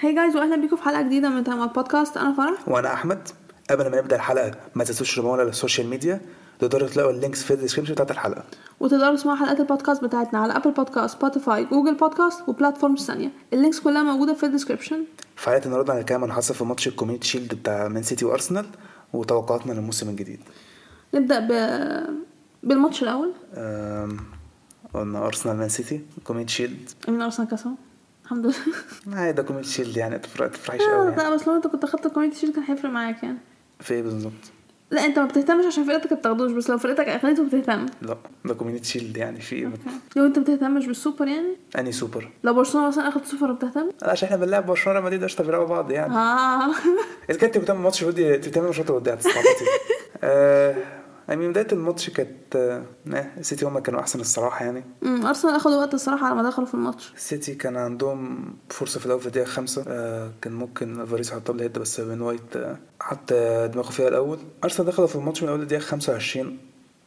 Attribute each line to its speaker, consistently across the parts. Speaker 1: هاي جايز واهلا بيكم في حلقه جديده من تمام بودكاست انا فرح
Speaker 2: وانا احمد قبل ما نبدا الحلقه ما تنسوش تابعونا على السوشيال ميديا تقدروا تلاقوا اللينكس في الديسكربشن بتاعت الحلقه
Speaker 1: وتقدروا تسمعوا حلقات البودكاست بتاعتنا على ابل بودكاست سبوتيفاي جوجل بودكاست وبلاتفورمز ثانيه اللينكس كلها موجوده في الديسكربشن
Speaker 2: في حلقه النهارده هنتكلم عن حصل في ماتش الكوميونتي شيلد بتاع مان سيتي وارسنال وتوقعاتنا للموسم الجديد
Speaker 1: نبدا ب... بالماتش الاول
Speaker 2: أم، قلنا ارسنال مان سيتي كوميونتي شيلد
Speaker 1: من ارسنال كسبوا الحمد لله
Speaker 2: هاي ده كوميونتي شيلد يعني تفرق- تفرحيش
Speaker 1: آه،
Speaker 2: قوي
Speaker 1: لا
Speaker 2: يعني.
Speaker 1: بس لو انت كنت اخدت الكوميونتي شيل كان هيفرق معاك يعني
Speaker 2: في ايه بالظبط
Speaker 1: لا انت ما بتهتمش عشان فرقتك ما بتاخدوش بس لو فرقتك اخدته بتهتم
Speaker 2: لا ده كوميونتي شيلد يعني في ايه
Speaker 1: لو انت ما بتهتمش بالسوبر يعني
Speaker 2: اني سوبر
Speaker 1: لو برشلونه مثلا اخدت سوبر بتهتم
Speaker 2: لا، عشان احنا بنلعب برشلونه ما دي قشطه بيلعبوا بعض يعني
Speaker 1: اه
Speaker 2: اذا كنت كنت بتعمل ماتش ودي بتعمل ماتش ودي هتستعبطي آه، يعني بدايه الماتش كانت آه، آه، السيتي هم كانوا احسن الصراحه يعني
Speaker 1: أمم، ارسنال اخدوا وقت الصراحه على ما دخلوا في الماتش
Speaker 2: السيتي كان عندهم فرصه في الاول في الدقيقه خمسة آه، كان ممكن الفاريز حطها لها بس بين وايت آه، حط آه، دماغه فيها الاول ارسنال دخلوا في الماتش من اول الدقيقه 25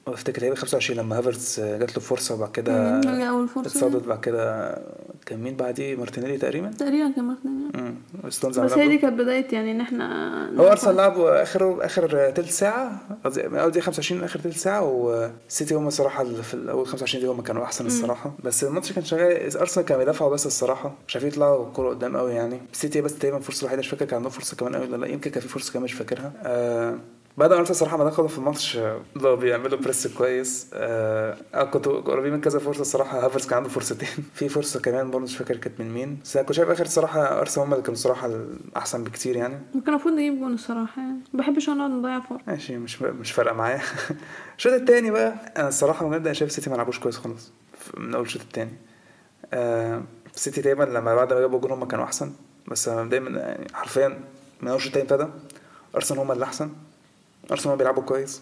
Speaker 2: افتكر هي 25 لما هافرتز آه، جات له فرصه وبعد كده
Speaker 1: أمم، هي اول فرصه
Speaker 2: اتصدت بعد كده كان مين بعديه مارتينيلي تقريبا
Speaker 1: تقريبا كان مرتين
Speaker 2: امم استنزع
Speaker 1: بس
Speaker 2: لعبه.
Speaker 1: هي دي كانت بدايه يعني ان احنا
Speaker 2: هو ارسنال لعبوا اخر اخر تلت ساعه قصدي من اول دقيقه 25 لاخر تلت ساعه والسيتي هم الصراحه اللي في الاول 25 دقيقه هم كانوا احسن الصراحه بس الماتش كان شغال ارسنال كانوا بيدافعوا بس الصراحه مش عارفين يطلعوا الكوره قدام قوي يعني السيتي بس تقريبا الفرصه الوحيده مش فاكر كان عندهم فرصه كمان قوي ولا لا يمكن كان في فرصه كمان مش فاكرها آه بعد ما ارسنال الصراحه ما دخلوا في الماتش آه، لا بيعملوا بريس كويس آه آه، كنتوا قريبين من كذا فرصه الصراحه هافرز كان عنده فرصتين في فرصه كمان برضه مش فاكر كانت من مين بس أنا كنت شايف اخر الصراحه ارسنال هم اللي كانوا الصراحه احسن بكتير يعني
Speaker 1: كان المفروض نجيب جون الصراحه يعني ما بحبش انا نقعد نضيع فرص
Speaker 2: ماشي مش مش فارقه معايا الشوط التاني بقى انا الصراحه بجد انا شايف سيتي ما لعبوش كويس خالص ف- من اول الشوط التاني آه سيتي دايما لما بعد ما جابوا جول هم كانوا احسن بس أنا دايما يعني حرفيا من اول الشوط التاني ابتدى ارسنال هم اللي احسن ارسنال هم بيلعبوا كويس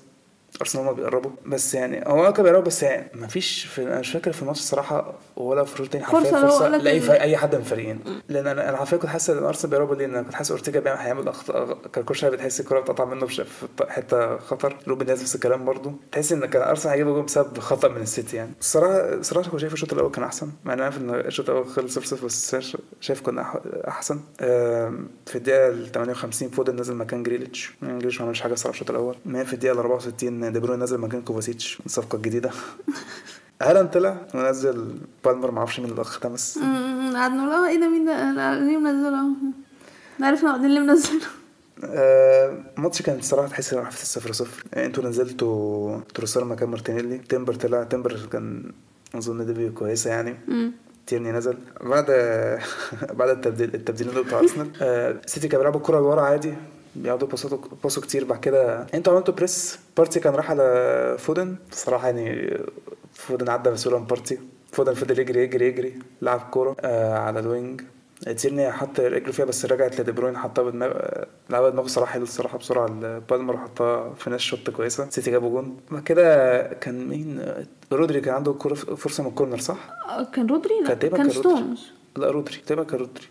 Speaker 2: ارسنال هم بيقربوا بس يعني هو كانوا بيقربوا بس يعني ما فيش في انا مش فاكر في الماتش الصراحه ولا في الشوط التاني حرفيا
Speaker 1: فرصة لو
Speaker 2: فرصه
Speaker 1: قالك
Speaker 2: لاي
Speaker 1: إن-
Speaker 2: فريق- اي حد من الفريقين لان انا انا حرفيا كنت حاسس ان ارسنال بيقربوا ليه لان انا كنت حاسس اورتيجا بيعمل هيعمل اخطاء كان كل شويه بتحس الكوره بتقطع منه في في ط- حته خطر روبن دياز نفس الكلام برضه تحس ان كان ارسنال هيجيب جول بسبب خطا من السيتي يعني الصراحه الصراحه كنت شايف الشوط الاول كان احسن مع ان انا عارف ان الشوط الاول خلص 0 0 بس شايف- شايف كنا أح- احسن آم، في الدقيقه ال 58 فودن نزل مكان جريليتش جريليتش ما عملش حاجه الصراحه في الشوط الاول ما في الدقيقه ال 64 دي بروين نزل مكان كوفاسيتش الصفقه الجديده هالاند طلع ونزل بالمر معرفش مين اللي ده بس
Speaker 1: أمم، قعدنا نقول اه ايه ده مين ده لا، ليه منزله أهو. عرفنا بعدين ليه منزله
Speaker 2: آه، الماتش كان بصراحه تحس ان راح في الصفر صفر يعني انتوا نزلتوا تروسار مكان مارتينيلي تمبر طلع تمبر كان اظن دي كويسه يعني
Speaker 1: أمم.
Speaker 2: تيرني نزل بعد بعد التبديل التبديلين اللي بتوع ارسنال آه، سيتي كانوا بيلعبوا الكوره لورا عادي بيقعدوا باصاتوا باصوا كتير بعد كده انتوا عملتوا بريس بارتي كان راح على فودن بصراحه يعني فودن عدى مسؤول عن بارتي فودن فضل يجري يجري يجري لعب كوره آه، على الوينج تيرني حط رجله فيها بس رجعت لدي بروين حطها بدماغ آه، لعبها دماغه صراحه حلو الصراحه بسرعه بالمر حطها فينش شوت كويسه سيتي جابوا جون بعد كده كان مين آه، رودري كان عنده كوره فرصه من الكورنر صح؟
Speaker 1: آه، كان رودري لا
Speaker 2: كان تقريبا
Speaker 1: كان
Speaker 2: كان رودري.
Speaker 1: ستونز
Speaker 2: لا رودري تقريبا كان رودري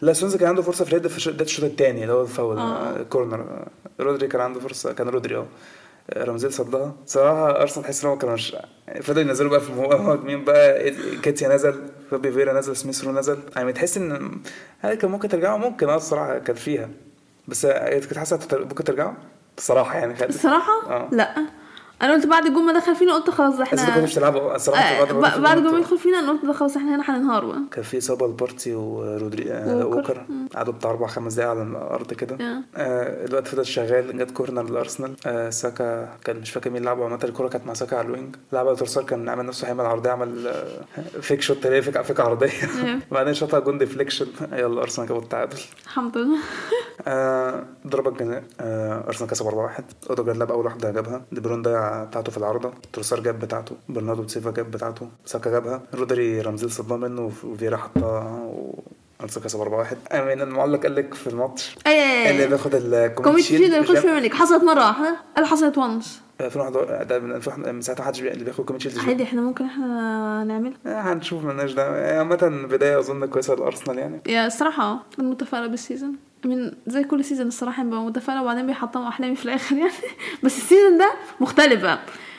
Speaker 2: لا سونز كان عنده فرصه في ريد في الش- ده الشوط الثاني اللي هو الفاول
Speaker 1: آه.
Speaker 2: آه، كورنر آه، رودري كان عنده فرصه كان رودري اه آه، رمزيل صدها صراحه ارسنال تحس ان هم كانوا مش فضلوا ينزلوا بقى في مهاجمين بقى إد- كاتيا نزل فابي فيرا نزل سميث رو نزل يعني تحس ان هل كان ممكن ترجعوا ممكن اه الصراحه كان فيها بس آه، كنت حاسس هتتر- ممكن ترجعوا بصراحه يعني كانت
Speaker 1: الصراحه
Speaker 2: آه.
Speaker 1: لا انا قلت بعد الجون ما دخل فينا قلت خلاص ده
Speaker 2: بس انتوا كنتوا
Speaker 1: احنا
Speaker 2: بتلعبوا الصراحه
Speaker 1: آه،
Speaker 2: كنتوا
Speaker 1: ب-
Speaker 2: بتلعبوا-
Speaker 1: بعد الجون ما يدخل فينا انا قلت ده خلاص احنا هنا هننهار بقى
Speaker 2: كان في اصابه لبارتي ورودري آه،
Speaker 1: نعم. ووكر.
Speaker 2: ووكر قعدوا بتاع اربع خمس دقايق على الارض كده
Speaker 1: آه.
Speaker 2: آه، الوقت فضل شغال جت كورنر لارسنال آه، ساكا كان مش فاكر مين لعبه عامه الكوره كانت مع ساكا على الوينج لعبها ترسار كان عامل نفسه هيعمل عرضيه عمل آه، فيك شوت تلاقي فيك فيك عرضيه
Speaker 1: آه.
Speaker 2: وبعدين شاطها جون ديفليكشن يلا ارسنال جابوا التعادل
Speaker 1: الحمد لله
Speaker 2: آه، ضربة جزاء آه، ارسنال كسب 4-1 اودوجارد لعب اول واحدة جابها دي بروين ضيع بتاعته في العارضة تروسار جاب بتاعته برناردو سيلفا جاب بتاعته ساكا جابها رودري رمزيل صدها منه وفيرا حطها وارسنال كسب 4-1 امين المعلق قال لك في الماتش
Speaker 1: اي اي
Speaker 2: اللي
Speaker 1: اي
Speaker 2: بياخد الكوميت
Speaker 1: كوميدي شيلد اللي
Speaker 2: شيلد
Speaker 1: يخش في الملك حصلت مره واحده قال حصلت وانس
Speaker 2: 2011 آه، ده من 2000 من ساعتها محدش بي- اللي بياخد كوميت شيلد
Speaker 1: عادي احنا ممكن احنا نعمل
Speaker 2: آه، هنشوف مالناش دعوة آه، عامة بداية أظن كويسة لأرسنال يعني
Speaker 1: يا الصراحه اه انا متفائله بالسيزون من زي كل يعني. سيزون الصراحه ببقى متفائله وبعدين بيحطموا احلامي في الاخر يعني بس السيزون ده مختلف بقى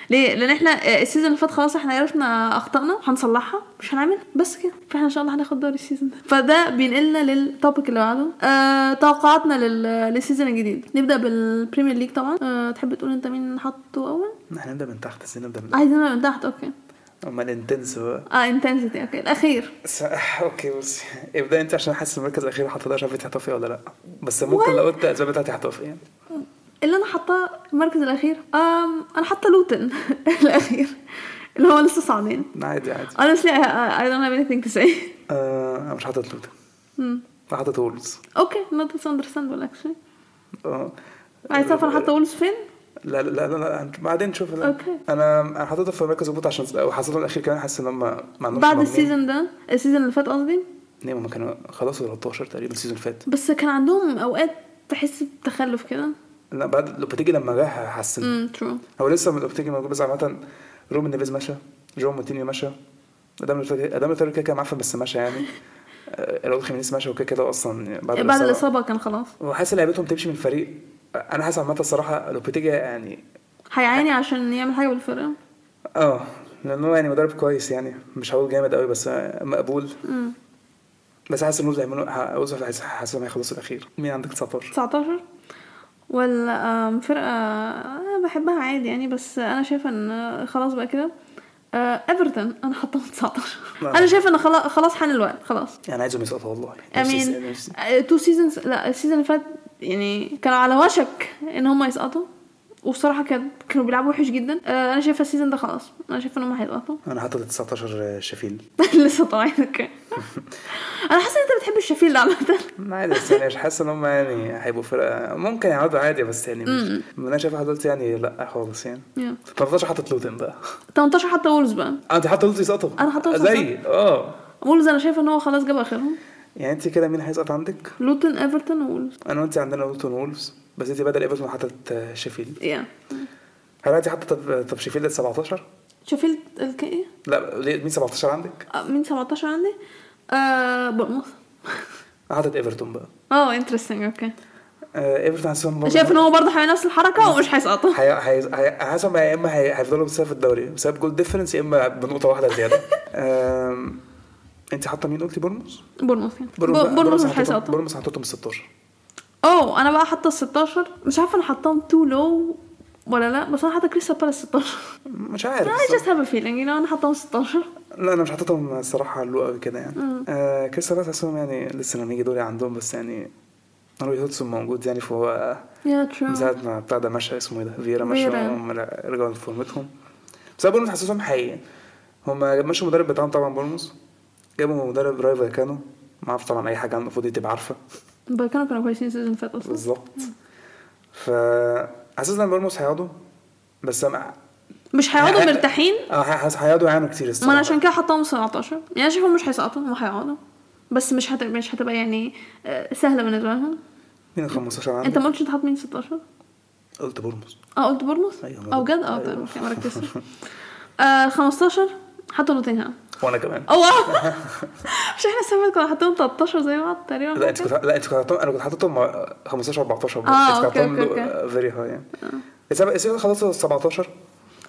Speaker 1: ليه لان احنا آه، السيزون اللي فات خلاص احنا عرفنا اخطائنا هنصلحها مش هنعمل بس كده فاحنا ان شاء الله هناخد دوري السيزون ده فده بينقلنا للتوبيك اللي بعده آه توقعاتنا لل- للسيزون الجديد نبدا بالبريمير ليج طبعا آه تحب تقول انت مين حطه اول
Speaker 2: احنا نبدا من تحت بس نبدا من
Speaker 1: عايزين نبدأ من تحت اوكي
Speaker 2: امال انتنس بقى
Speaker 1: اه انتنسيتي اوكي الاخير
Speaker 2: س- اوكي بصي ابدا انت عشان حاسس المركز الاخير حاطط ده شايف هتحتفي ولا لا بس ممكن لو قلت الاسباب بتاعتي هتحتفي يعني
Speaker 1: اللي انا حاطاه المركز الاخير آم انا حاطه لوتن الاخير اللي هو لسه صاعدين
Speaker 2: عادي عادي
Speaker 1: honestly I, I don't have anything to say
Speaker 2: آه انا مش حاطط لوتن
Speaker 1: مم.
Speaker 2: انا حاطط وولز
Speaker 1: اوكي not that's understandable actually
Speaker 2: اه
Speaker 1: عايز تعرف انا حاطه وولز فين؟
Speaker 2: لا لا لا, لا, لا. بعدين نشوف لا.
Speaker 1: أوكي.
Speaker 2: انا انا حاططها في مركز الهبوط عشان وحاططهم الاخير كمان حاسس ان هم ما عندهمش
Speaker 1: بعد
Speaker 2: مضمون.
Speaker 1: السيزون ده السيزون اللي فات قصدي
Speaker 2: ليه هم كانوا خلصوا 13 تقريبا السيزون اللي فات
Speaker 1: بس كان عندهم اوقات تحس بتخلف كده
Speaker 2: لا بعد لوبتيجي لما جه حسن
Speaker 1: امم ترو
Speaker 2: هو لسه لوبتيجي موجود بس عامه روبن نيفيز مشى جو مونتينيو مشى ادام الفريق ادام الفريق كده كده معفن بس مشى يعني آه، راؤول خيمينيز مشى وكده كده اصلا بعد
Speaker 1: إيه، بعد
Speaker 2: الإصابة.
Speaker 1: الاصابه كان خلاص
Speaker 2: وحاسس إن لعيبتهم تمشي من الفريق انا حاسس عامه الصراحه لوبتيجي يعني
Speaker 1: هيعاني عشان يعمل حاجه بالفرقه
Speaker 2: اه لان هو يعني مدرب كويس يعني مش هقول جامد قوي بس آه، مقبول
Speaker 1: امم
Speaker 2: بس حاسس ان وولز هيعملوا وولز حاسس- حاسس انهم هيخلصوا الاخير مين عندك 19
Speaker 1: 19 ولا آم، فرقة أنا بحبها عادي يعني بس أنا شايفة إن خلاص بقى كده آه، ايفرتون انا حطاهم 19
Speaker 2: نعم.
Speaker 1: انا شايفه ان خلاص خلاص حان الوقت خلاص
Speaker 2: يعني عايزهم يسقطوا والله نفسي-
Speaker 1: امين
Speaker 2: نفسي-
Speaker 1: تو سيزونز لا السيزون اللي فات يعني كانوا على وشك ان هم يسقطوا وبصراحه كان كانوا بيلعبوا وحش جدا آه، انا شايفه السيزون ده خلاص انا شايفه ان هم هيسقطوا
Speaker 2: انا حاطط 19 شفيل
Speaker 1: لسه طالعين اوكي انا حاسه ان انت بتحب الشفيل ده عامه
Speaker 2: عادي بس يعني مش حاسس ان هم يعني هيبقوا فرقه ممكن يقعدوا عادي بس يعني مش انا شايف حضرتك يعني لا خالص يعني
Speaker 1: يا.
Speaker 2: 13 حاطط لوتن بقى
Speaker 1: 18 حتى وولز بقى
Speaker 2: آه، انت حاطط لوتن يسقطوا
Speaker 1: أنا حاطة لوتن
Speaker 2: زي اه
Speaker 1: وولز انا شايفه ان هو خلاص جاب اخرهم
Speaker 2: يعني انت كده مين هيسقط عندك؟
Speaker 1: لوتون ايفرتون وولز
Speaker 2: انا وانت عندنا لوتن وولفز بس انت بدل ايفرتون حاطط آه، شيفيلد
Speaker 1: يا
Speaker 2: هل انت حاطط طب, طب شيفيلد 17
Speaker 1: شفيلد الكي ايه
Speaker 2: لا ليه- مين 17 عندك؟
Speaker 1: آه، مين 17 عندي آه بورموث
Speaker 2: أنا حاطط ايفرتون بقى
Speaker 1: اه انترستنج اوكي
Speaker 2: آه، ايفرتون حاسسهم برضه
Speaker 1: شايف ان هو برضه هيعمل نفس الحركه ومش هيسقطوا
Speaker 2: هي- هي- هي- حاسسهم يا اما هي- هيفضلوا بسبب الدوري بسبب جول ديفرنس يا اما بنقطه واحده زياده آم، انت حاطه مين قلتي بورموس؟
Speaker 1: بورموث يعني
Speaker 2: بورموس
Speaker 1: بور-
Speaker 2: بقى-
Speaker 1: بورموث مش
Speaker 2: حاططهم-
Speaker 1: هيسقطوا
Speaker 2: بورموث حاططهم 16
Speaker 1: اوه انا بقى حاطه 16 مش عارفه انا حاطاهم تو لو ولا لا بس انا حاطه كريستال بالاس 16
Speaker 2: مش عارف
Speaker 1: انا جاست هاف فيلينج يو انا حاطاهم 16
Speaker 2: لا انا مش حاططهم الصراحه له قوي كده يعني آه كريستال بالاس حاسسهم يعني لسه لما يجي دوري عندهم بس يعني روي هودسون موجود يعني فهو
Speaker 1: يا ترو
Speaker 2: من ساعه ما بتاع ده مشى اسمه ايه ده فيرا مشى
Speaker 1: آه. فييرا.
Speaker 2: هم لا- رجعوا لفورمتهم بس أنا بورموس حاسسهم حقيقي هم مشوا المدرب بتاعهم طبعا بورموس جابوا مدرب رايفا كانو ما اعرف طبعا اي حاجه عنه المفروض دي تبقى عارفه
Speaker 1: بقى كانوا كانوا كويسين السيزون اللي فات اصلا
Speaker 2: بالظبط ف حاسس ان بورموس هيقعدوا بس أنا-
Speaker 1: مش هيقعدوا
Speaker 2: هي-
Speaker 1: مرتاحين
Speaker 2: اه حاسس هيقعدوا يعانوا كتير
Speaker 1: ما انا
Speaker 2: الصراحه
Speaker 1: عشان كده حطاهم 17 يعني أنا شايفهم مش هيسقطوا هم هيقعدوا بس مش هتبقى مش هتبقى يعني آه، سهله بالنسبه لهم
Speaker 2: مين ال 15 عندك؟
Speaker 1: انت ما قلتش انت حاطط مين 16
Speaker 2: قلت بورموس
Speaker 1: اه قلت بورموث
Speaker 2: أيوة،
Speaker 1: او
Speaker 2: قلت-
Speaker 1: جد اه
Speaker 2: أيوة.
Speaker 1: طيب اوكي ما ركزتش آه، 15 حطوا نوتنغهام
Speaker 2: وانا كمان
Speaker 1: اوه مش احنا السنه اللي فاتت كنا حاطين 13 زي بعض تقريبا
Speaker 2: لا انت كنت لا انت كنت حاططهم انا كنت حاططهم مع 15 14 برضه.
Speaker 1: آه،
Speaker 2: انت كنت
Speaker 1: أوكي،
Speaker 2: حاططهم
Speaker 1: أوكي،
Speaker 2: فيري هاي يعني السبب السبب خلصوا 17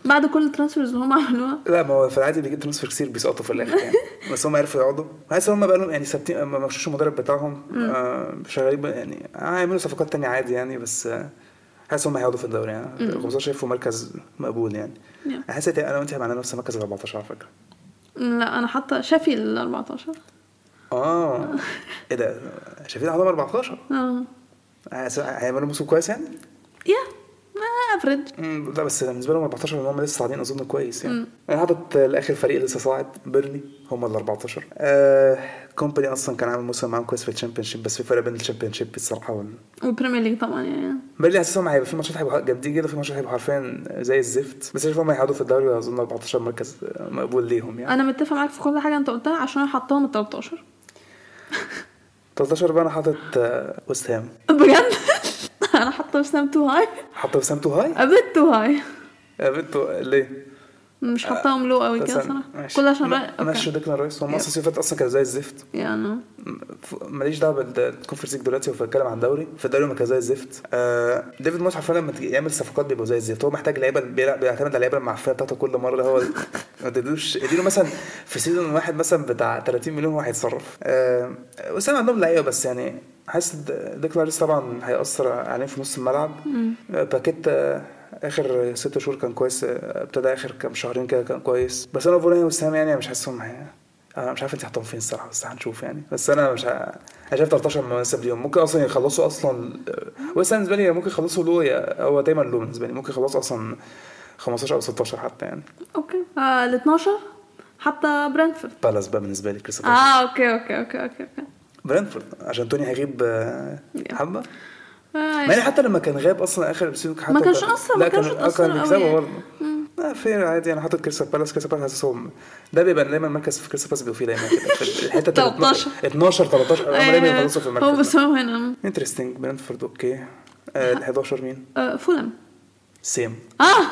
Speaker 1: بعد كل الترانسفيرز اللي هم عملوها
Speaker 2: لا ما هو في العادي بيجيب ترانسفير كتير بيسقطوا في الاخر يعني بس هم عرفوا يقعدوا حاسس ان هم بقى لهم يعني ثابتين ما ما مشوش المدرب بتاعهم آه شغالين بقى يعني هيعملوا صفقات تانية عادي يعني بس آه، حاسس هم هيقعدوا في الدوري يعني 15 شايفه مركز مقبول يعني
Speaker 1: Yeah.
Speaker 2: حاسس هتبقى انا وانت هيبقى عندنا نفس مركز ال 14 على فكره
Speaker 1: لا انا حاطه شافي ال 14
Speaker 2: اه ايه ده شايفين عندهم 14
Speaker 1: اه
Speaker 2: حاسس- هيعملوا موسم كويس يعني؟
Speaker 1: يا آه، افريج
Speaker 2: مم، لا بس بالنسبه لهم 14 ان هم لسه صاعدين اظن كويس يعني انا حاطط الاخر فريق لسه صاعد بيرني هم ال 14 آه كومباني اصلا كان عامل موسم معاهم كويس في الشامبيون شيب بس في فرق بين الشامبيون شيب الصراحه وال
Speaker 1: والبريمير ليج طبعا يعني
Speaker 2: بيرني حاسسهم هيبقى في ماتشات هيبقوا جامدين جدا في ماتشات هيبقوا حرفيا زي الزفت بس شايف هم هيقعدوا في الدوري اظن 14 مركز مقبول ليهم يعني
Speaker 1: انا متفق معاك في كل حاجه انت قلتها عشان انا حطاهم ال 13
Speaker 2: 13 بقى انا حاطط آه، ويست هام
Speaker 1: بجد انا حاطه وسام تو هاي
Speaker 2: حاطط وسام تو هاي
Speaker 1: ابيت تو هاي
Speaker 2: آه، بنتو ليه؟
Speaker 1: مش حاطاهم لو قوي كده صراحه كل عشان رأي-
Speaker 2: ماشي
Speaker 1: اوكي
Speaker 2: ديكلان رايس هم
Speaker 1: يلا.
Speaker 2: اصلا الصيف اصلا كان زي الزفت
Speaker 1: يعني
Speaker 2: ف- ماليش دعوه بالكونفرنس ليج دلوقتي وبتكلم عن دوري فالدوري ما كان زي الزفت آه ديفيد مويس حرفيا لما يعمل صفقات بيبقى زي الزفت هو محتاج لعيبه بيلعب- بيعتمد على اللعيبه المعفنه بتاعته كل مره هو ما تدوش اديله مثلا في سيزون واحد مثلا بتاع 30 مليون هو هيتصرف آه بس انا عندهم لعيبه بس يعني حاسس د- ديكلان رايس طبعا هيأثر عليه في نص الملعب آه، باكيت آه، اخر ست شهور كان كويس آه، ابتدى اخر كام شهرين كده كان كويس بس انا بقول وسام يعني مش حاسسهم هي- انا مش عارف انت هتحطهم فين الصراحه بس هنشوف يعني بس انا مش ه... انا شايف 13 مناسب ليهم ممكن اصلا يخلصوا اصلا بس انا بالنسبه لي ممكن يخلصوا له يا- هو دايما له بالنسبه لي ممكن يخلصوا اصلا 15 او 16 حتى يعني
Speaker 1: اوكي آه ال 12 حتى برانفورد
Speaker 2: بالاس بقى بالنسبه لي كريستال آه.
Speaker 1: اه اوكي اوكي اوكي اوكي, أوكي.
Speaker 2: برانفورد عشان توني هيغيب آه،
Speaker 1: Yeah.
Speaker 2: حبه
Speaker 1: آه
Speaker 2: ما يعني حتى لما كان غاب اصلا اخر سيزون حتى
Speaker 1: ما كانش
Speaker 2: كان-
Speaker 1: أثر- ما
Speaker 2: لا
Speaker 1: كانش
Speaker 2: كان آه،
Speaker 1: أثر
Speaker 2: كان
Speaker 1: أوي
Speaker 2: بيكسبه
Speaker 1: يعني.
Speaker 2: برضه لا فير عادي انا حاطط كريستال بالاس كريستال بالاس حاسسهم ده بيبقى دايما مركز في كريستال بالاس بيبقى فيه دايما كده في الحته
Speaker 1: 13.
Speaker 2: 12 13 هم دايما
Speaker 1: آه،
Speaker 2: يخلصوا إيه في المركز
Speaker 1: هو
Speaker 2: ده.
Speaker 1: بس هو هنا
Speaker 2: انترستنج برنتفورد اوكي آه، ال 11 مين؟
Speaker 1: آه فولم
Speaker 2: سيم
Speaker 1: اه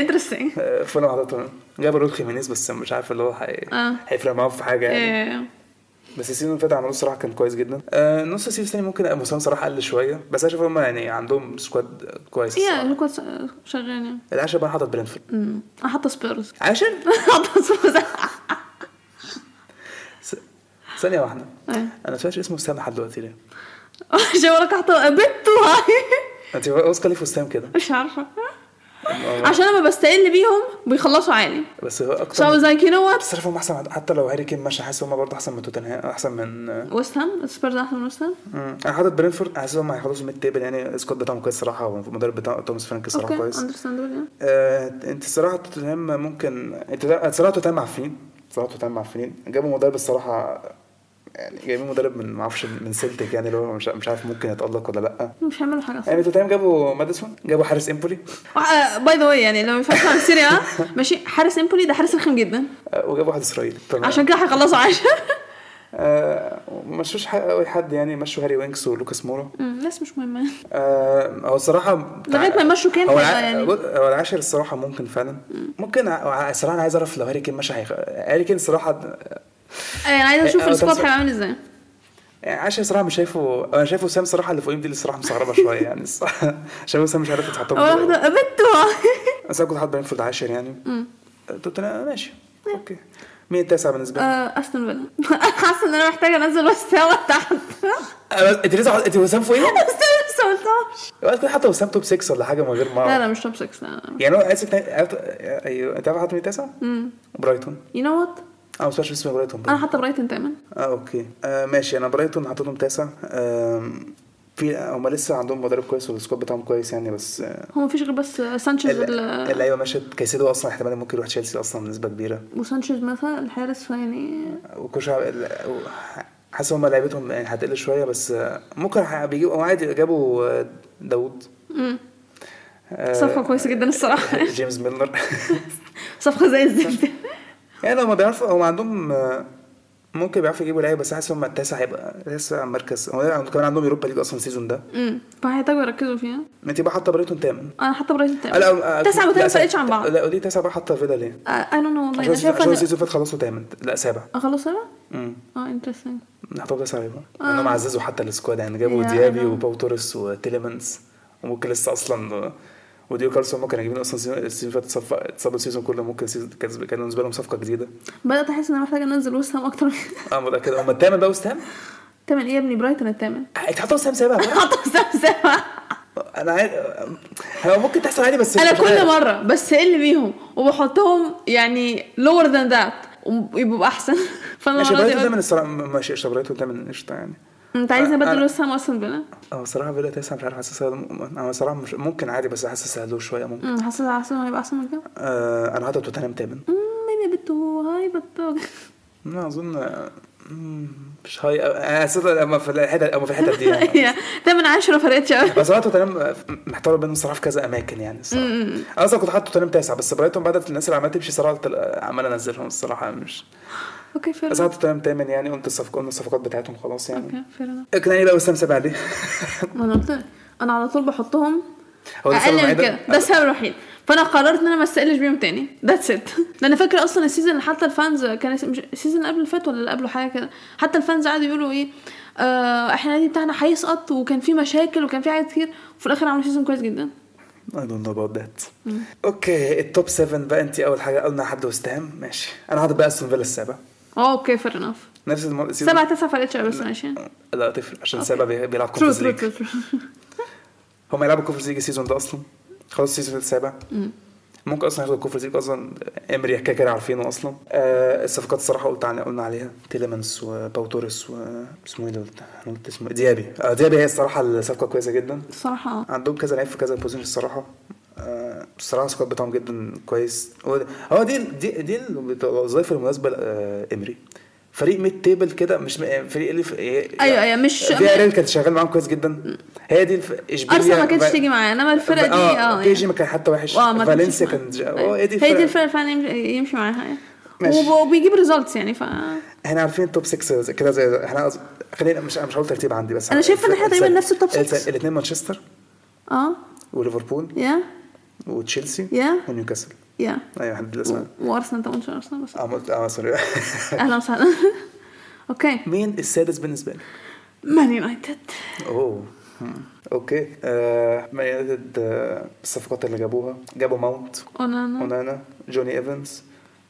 Speaker 1: انترستنج
Speaker 2: آه، فولم حاطط مين؟ جاب رول خيمينيز بس مش عارف اللي هو هي-
Speaker 1: آه. إيه.
Speaker 2: هيفرق معاهم في حاجه يعني بس السيزون اللي فات عملوه الصراحه كان كويس جدا آه، نص السيزون الثاني ممكن مسام صراحه قل شويه بس انا شايف هم يعني عندهم سكواد كويس
Speaker 1: يا
Speaker 2: الصراحه
Speaker 1: الكوت شغال يعني
Speaker 2: العاشر بقى حاطط برنتفورد
Speaker 1: أمم. آه، حتى سبيرز
Speaker 2: عشان
Speaker 1: حتى سبيرز
Speaker 2: ثانيه واحده
Speaker 1: أيوة.
Speaker 2: انا مش فاكر اسمه وسام لحد دلوقتي ليه
Speaker 1: شاورك حتى بنته هاي
Speaker 2: انت واثقه ليه في وسام كده
Speaker 1: مش عارفه عشان لما بستقل بيهم بيخلصوا عالي
Speaker 2: بس هو
Speaker 1: So I
Speaker 2: اكتر
Speaker 1: was like you know what
Speaker 2: بس عارف هم احسن حتى لو هاري كين ماشي حاسس هم برضه احسن من توتنهام احسن من آه،
Speaker 1: ويست هام سبيرز احسن من ويست هام
Speaker 2: مم. انا حاطط برينفورد حاسس ان هم هيخلصوا ميد تيبل يعني سكوت بتاعهم كويس صراحه والمدرب بتاع توماس فرانك صراحه
Speaker 1: اوكي
Speaker 2: كويس
Speaker 1: اندرستاندبل
Speaker 2: آه، انت الصراحه توتنهام ممكن انت لا- صراحه توتنهام معفنين صراحه توتنهام معفنين جابوا مدرب الصراحه يعني جايبين مدرب من ما اعرفش من سلتك يعني اللي هو مش مش عارف ممكن يتالق ولا لا
Speaker 1: مش هيعملوا حاجه اصلا
Speaker 2: يعني توتنهام جابوا ماديسون جابوا حارس امبولي
Speaker 1: باي ذا واي يعني لو ينفعش عن سيريا ماشي حارس امبولي ده حارس رخم جدا
Speaker 2: آه، وجابوا واحد اسرائيلي تمام.
Speaker 1: عشان كده هيخلصوا عشرة
Speaker 2: آه، وما مشوش حق- أوي حد يعني مشوا هاري وينكس ولوكاس مورا
Speaker 1: أمم، ناس مش مهمه
Speaker 2: آه، هو الصراحه
Speaker 1: لغايه ما يمشوا كان
Speaker 2: هو
Speaker 1: هيبقى
Speaker 2: الع...
Speaker 1: يعني
Speaker 2: هو العاشر الصراحه ممكن فعلا ممكن ع- الصراحه انا عايز اعرف لو هاري كين مش هيخ... هاري كين الصراحه
Speaker 1: انا عايزه اشوف
Speaker 2: آه،
Speaker 1: يعني السكواد
Speaker 2: طب-
Speaker 1: هيبقى عامل ازاي
Speaker 2: يعني عاشر الصراحه مش شايفه انا شايفه سام صراحه اللي فوقيهم دي اللي الصراحه مستغربه شويه يعني الصراحة- شايفه سام مش عارف
Speaker 1: أول
Speaker 2: يتحطهم
Speaker 1: واحده بنته
Speaker 2: بس انا كنت حاطط برينفورد عاشر يعني توتنهام ماشي اوكي مين التاسع بالنسبه لي؟
Speaker 1: طيب. آه، استون فيلا حاسه ان انا محتاجه انزل مستوى تحت
Speaker 2: أنا- انت أه، لسه حاطط- انت وسام فوقيهم؟
Speaker 1: استون
Speaker 2: اوقات كنت حاطه وسام توب 6 ولا حاجه من غير ما
Speaker 1: لا
Speaker 2: أعرف.
Speaker 1: لا مش توب 6 لا لا
Speaker 2: يعني هو عايز يتنا- عارف- ايوه انت عارف حاطط مين التاسع؟ برايتون
Speaker 1: يو نو وات
Speaker 2: انا مش فاكر اسم برايتون
Speaker 1: انا حاطه برايتون تمام
Speaker 2: اه اوكي آه ماشي انا برايتون حاططهم تاسع آم، في هم لسه عندهم مدرب كويس والسكواد بتاعهم كويس يعني بس آه،
Speaker 1: هو مفيش غير بس سانشيز
Speaker 2: ال-
Speaker 1: وال-
Speaker 2: اللعيبه مشت كايسيدو اصلا احتمال ممكن يروح تشيلسي اصلا بنسبه كبيره
Speaker 1: وسانشيز مثلا الحارس يعني
Speaker 2: وكوشا ال- و- حاسس هم لعيبتهم يعني هتقل شويه بس آه، ممكن ح- بيجيبوا هو عادي جابوا آه، داوود آه،
Speaker 1: صفقه كويسه جدا الصراحه
Speaker 2: جيمس ميلر
Speaker 1: صفقه زي الزفت
Speaker 2: يعني هم بيعرفوا هم عندهم آه، ممكن بيعرفوا يجيبوا لعيبه بس حاسس هم التاسع هيبقى لسه مركز هم كمان عندهم يوروبا ليج اصلا السيزون ده
Speaker 1: امم فهيحتاجوا يركزوا فيها
Speaker 2: انت بقى حاطه برايتون تامن
Speaker 1: انا حاطه برايتون
Speaker 2: آه،
Speaker 1: تمام
Speaker 2: لا آه،
Speaker 1: تسعه
Speaker 2: لا،
Speaker 1: وثلاثه
Speaker 2: سبعة.
Speaker 1: فرقتش عن بعض آه،
Speaker 2: لا ودي تسعة بقى حاطة فيلا ليه؟
Speaker 1: اي دونت نو والله
Speaker 2: عشان
Speaker 1: انا
Speaker 2: السيزون-
Speaker 1: شايفه إن-
Speaker 2: عشان السيزون اللي فات خلصوا تامن لا سابع
Speaker 1: اخلص سبعه
Speaker 2: امم
Speaker 1: اه انترستنج
Speaker 2: حطوا تسعة يبقى
Speaker 1: آه.
Speaker 2: انهم عززوا حتى السكواد يعني جابوا
Speaker 1: Yeah, I
Speaker 2: ديابي
Speaker 1: know.
Speaker 2: وباو توريس وتيليمنز وممكن لسه اصلا وديو كارلسون هم كانوا جايبين اصلا السيزون- السيزون اللي فات صفقة- اتصابوا السيزون كله ممكن السيزون- كان كان بالنسبه لهم صفقه جديده
Speaker 1: بدات احس ان انا محتاجه انزل وسام اكتر من
Speaker 2: اه متاكد هم الثامن بقى وسام
Speaker 1: تمام ايه يا ابني برايتون الثامن
Speaker 2: اتحطوا وسام سابع بقى.
Speaker 1: حاطه وسام سبعه
Speaker 2: انا عايز هو ممكن تحصل عادي بس
Speaker 1: انا
Speaker 2: مش عارف.
Speaker 1: كل مره بسقل بيهم وبحطهم يعني lower than that ويبقوا احسن فانا
Speaker 2: ماشي
Speaker 1: المره دي
Speaker 2: برايتون
Speaker 1: قلت-
Speaker 2: تامن الصراحه ماشي قشطه برايتون تامن قشطه يعني
Speaker 1: انت عايزني
Speaker 2: أنا-
Speaker 1: ابدل وسام اصلا بلا
Speaker 2: اه الصراحه فيلا تسعة مش عارف حاسسها انا صراحه مش ممكن عادي بس حاسس سهلوه شويه ممكن
Speaker 1: امم حاسس حاسس انه هيبقى احسن من كده
Speaker 2: آه انا حاطط توتنهام تامن
Speaker 1: ميبي بتو هاي بتو
Speaker 2: انا اظن آه، مم، مش هاي انا حسيت اما في الحته اما في الحته دي يعني.
Speaker 1: تمن عشرة فرقتش قوي
Speaker 2: بس انا توتنهام آه، محتار بينهم صراحه في كذا اماكن يعني الصراحه انا اصلا كنت حاطط توتنهام تاسع بس برايتون بعد الناس اللي عماله تمشي صراحه تل- عمال انزلهم الصراحه مش
Speaker 1: اوكي فير
Speaker 2: بس انا حاطط توتنهام تامن يعني قلت الصفقات قلنا الصفقات بتاعتهم خلاص يعني
Speaker 1: اوكي فير
Speaker 2: كان يعني بقى وسام سابع ليه؟
Speaker 1: ما انا قلت لك، انا على طول بحطهم
Speaker 2: هو ده
Speaker 1: اقل
Speaker 2: السبب
Speaker 1: من
Speaker 2: الوحيد؟
Speaker 1: كده ده السبب الوحيد فانا قررت ان انا ما استقلش بيهم تاني ذاتس ات انا فاكره اصلا السيزون اللي حتى الفانز كان الس- مش السيزون اللي قبل اللي فات ولا اللي قبله حاجه كده حتى الفانز قعدوا يقولوا ايه آه احنا النادي بتاعنا هيسقط وكان في مشاكل وكان في حاجات كتير وفي الاخر عملوا سيزون كويس جدا
Speaker 2: I don't know about that. اوكي التوب 7 بقى انت اول حاجه قلنا حد وست هام ماشي انا هقعد بقى استون فيلا السابع
Speaker 1: اه اوكي فير انف
Speaker 2: نفس الم... السيزون-
Speaker 1: سبعة تسعة فرقتش بس ماشي
Speaker 2: لا تفرق عشان السابع بي- بيلعب
Speaker 1: ترو
Speaker 2: كونفرنس
Speaker 1: ترو
Speaker 2: ليج
Speaker 1: ترو ترو.
Speaker 2: هم يلعبوا كونفرنس ليج السيزون ده اصلا خلاص السيزون السابع ممكن اصلا ياخدوا الكونفرنس ليج اصلا امري كده كده عارفينه اصلا آه الصفقات الصراحه قلت عن قلنا عليها تيلمنس وباو توريس واسمه ايه ده قلت- انا قلت اسمه إيه؟ ديابي آه ديابي هي الصراحه الصفقه كويسه جدا
Speaker 1: الصراحة اه
Speaker 2: عندهم كذا لعيب في كذا بوزيشن الصراحه آه، الصراحه السكواد بتاعهم جدا كويس هو ده- هو دي دي دي الوظائف المناسبه لامري فريق ميد تيبل كده مش م- آه، فريق اللي آه، في
Speaker 1: أيوة، أيوة، مش-
Speaker 2: في اريل كانت شغال معاهم كويس جدا هي دي الف... اشبيليا
Speaker 1: ارسنال ما
Speaker 2: فا-
Speaker 1: كانتش تيجي معايا انما الفرقة دي اه
Speaker 2: بي
Speaker 1: يعني.
Speaker 2: جي آه، ما كان حتى وحش
Speaker 1: اه ما كانتش
Speaker 2: فالنسيا
Speaker 1: معايا.
Speaker 2: كان ج-
Speaker 1: أيوة.
Speaker 2: هو هي دي
Speaker 1: هي دي
Speaker 2: الفرق
Speaker 1: الفرقة فعلا يمشي- يمشي معاها يعني.
Speaker 2: ماشي.
Speaker 1: وب- وبيجيب ريزلتس يعني ف
Speaker 2: احنا عارفين التوب 6 زي- كده زي احنا قص- خلينا مش مش هقول ترتيب عندي بس
Speaker 1: أنا شايفة إن إحنا تقريبا نفس التوب six.
Speaker 2: الاثنين مانشستر
Speaker 1: اه
Speaker 2: وليفربول
Speaker 1: يا
Speaker 2: وتشيلسي
Speaker 1: Yeah.
Speaker 2: ونيوكاسل
Speaker 1: يا
Speaker 2: ايوه حد الاسماء
Speaker 1: وارسنال طبعا مش ارسنال بس
Speaker 2: اه مت- اه سوري
Speaker 1: اهلا وسهلا اوكي
Speaker 2: مين السادس بالنسبه لي؟
Speaker 1: مان يونايتد
Speaker 2: اوه مم. اوكي آه مان يونايتد آه، الصفقات اللي جابوها جابوا ماونت
Speaker 1: اونانا
Speaker 2: اونانا جوني ايفنز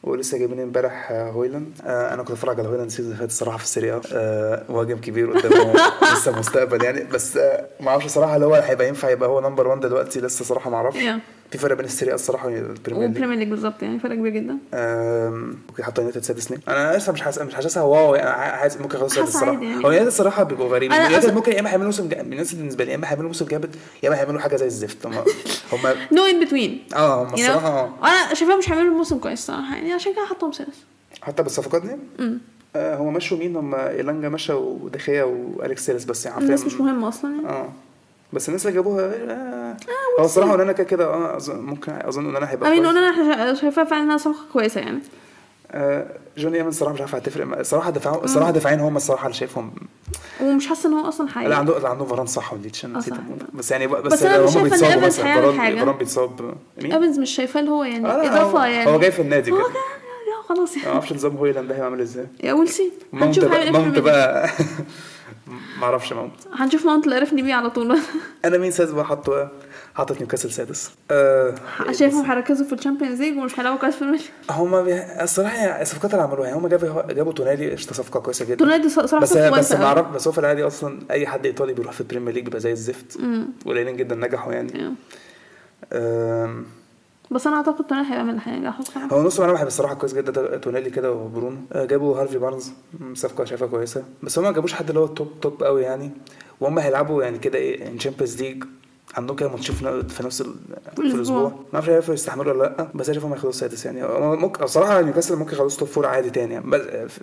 Speaker 2: ولسه جايبين امبارح آه، هويلاند آه انا كنت بتفرج على هويلاند السيزون اللي فات الصراحه في السيريا آه مهاجم كبير قدامه لسه مستقبل يعني بس آه ما اعرفش صراحه اللي هو هيبقى ينفع يبقى هو نمبر 1 دلوقتي لسه صراحه ما اعرفش
Speaker 1: Yeah.
Speaker 2: في فرق بين السيريا الصراحه والبريمير ليج
Speaker 1: وبريمير ليج بالظبط يعني فرق كبير جدا
Speaker 2: آم، اوكي حتى يونايتد سادس ليه؟ انا لسه مش حاسس مش حاسسها واو يعني أنا حاسس ممكن ياخدوا سادس
Speaker 1: حاسة
Speaker 2: الصراحه
Speaker 1: عادي يعني.
Speaker 2: هو يونايتد الصراحه بيبقوا غريبين
Speaker 1: أنا
Speaker 2: يونايتد
Speaker 1: أصلاً-
Speaker 2: ممكن يا اما هيعملوا موسم جا- يونايتد بالنسبه لي يا اما هيعملوا موسم جامد يا اما هيعملوا حاجه زي الزفت هم هم
Speaker 1: نو ان بتوين
Speaker 2: اه هم الصراحه آه.
Speaker 1: انا شايفاهم مش هيعملوا موسم كويس صراحه يعني عشان كده حطهم سادس
Speaker 2: حتى بالصفقات دي
Speaker 1: أمم.
Speaker 2: آه هم مشوا مين هم إيلانجا مشى ودخيا واليكس سيلس بس يعني
Speaker 1: الناس
Speaker 2: عارفين
Speaker 1: مش مهمه اصلا يعني
Speaker 2: اه بس الناس اللي جابوها آه هو الصراحه اونانا كده كده اه أظن- ممكن اظن اونانا هيبقى
Speaker 1: امين
Speaker 2: كويس.
Speaker 1: اونانا انا شا- شايفاها فعلا انها صفقه كويسه يعني
Speaker 2: آه جوني ايفنز الصراحه مش عارف هتفرق مع- الصراحه
Speaker 1: آه.
Speaker 2: دفاعهم الصراحه دفاعين هم الصراحه اللي شايفهم
Speaker 1: ومش حاسه ان هو اصلا حاجه
Speaker 2: لا عنده لا عنده فران صح وليتش انا
Speaker 1: آه،
Speaker 2: نسيت
Speaker 1: صح.
Speaker 2: أقول. بس يعني بس,
Speaker 1: بس
Speaker 2: بس
Speaker 1: أنا مش شايفة إن
Speaker 2: هم بيتصابوا
Speaker 1: إيفنس
Speaker 2: مثلا
Speaker 1: هيعمل
Speaker 2: فران
Speaker 1: حاجة.
Speaker 2: فران بيتصاب مين؟
Speaker 1: ايفنز مش شايفاه اللي هو يعني
Speaker 2: آه، لا،
Speaker 1: اضافه
Speaker 2: هو-
Speaker 1: يعني
Speaker 2: هو جاي في النادي
Speaker 1: هو
Speaker 2: كده.
Speaker 1: جاي- جاي- خلاص
Speaker 2: ما
Speaker 1: يعني
Speaker 2: اعرفش نظام هويلاند ده هيبقى عامل ازاي
Speaker 1: يا ويل سي
Speaker 2: ماونت
Speaker 1: هنشوف هيعمل
Speaker 2: بقى
Speaker 1: إيه
Speaker 2: ماونت
Speaker 1: في Premier League.
Speaker 2: بقى ما اعرفش ماونت
Speaker 1: هنشوف ماونت اللي عرفني بيه على طول
Speaker 2: انا مين سادس بقى حاطه حاطط نيوكاسل سادس آه
Speaker 1: شايفهم هيركزوا في الشامبيونز ليج ومش هيلعبوا كاس في الماتش
Speaker 2: هما بي... الصراحه يعني الصفقات اللي عملوها يعني هما جابوا جابوا تونالي قشطه صفقه كويسه جدا
Speaker 1: تونالدي ص- صراحه
Speaker 2: بس
Speaker 1: صفقة
Speaker 2: بس
Speaker 1: كويسة
Speaker 2: ما
Speaker 1: أوي.
Speaker 2: اعرف بس هو في العادي اصلا اي حد ايطالي بيروح في البريمير ليج بيبقى زي الزفت
Speaker 1: أمم.
Speaker 2: قليلين جدا نجحوا يعني
Speaker 1: يا.
Speaker 2: آم،
Speaker 1: بس انا اعتقد تونالدي هيعمل حاجه حلوة.
Speaker 2: هو نص ملعب هيبقى الصراحه كويس جدا تونالي كده وبرونو آه، جابوا هارفي بارنز مم، صفقه شايفها كويسه بس هم ما جابوش حد اللي هو التوب توب قوي يعني وهم هيلعبوا يعني كده ايه تشامبيونز ليج عندهم كده ماتشين في ن- في نفس ال- في الاسبوع ما اعرفش هيعرفوا يستحملوا ولا لا بس شايف هم هياخدوا السادس يعني هو ممكن الصراحه نيوكاسل ممكن يخلصوا توب فور عادي تاني يعني. بس آه، ف-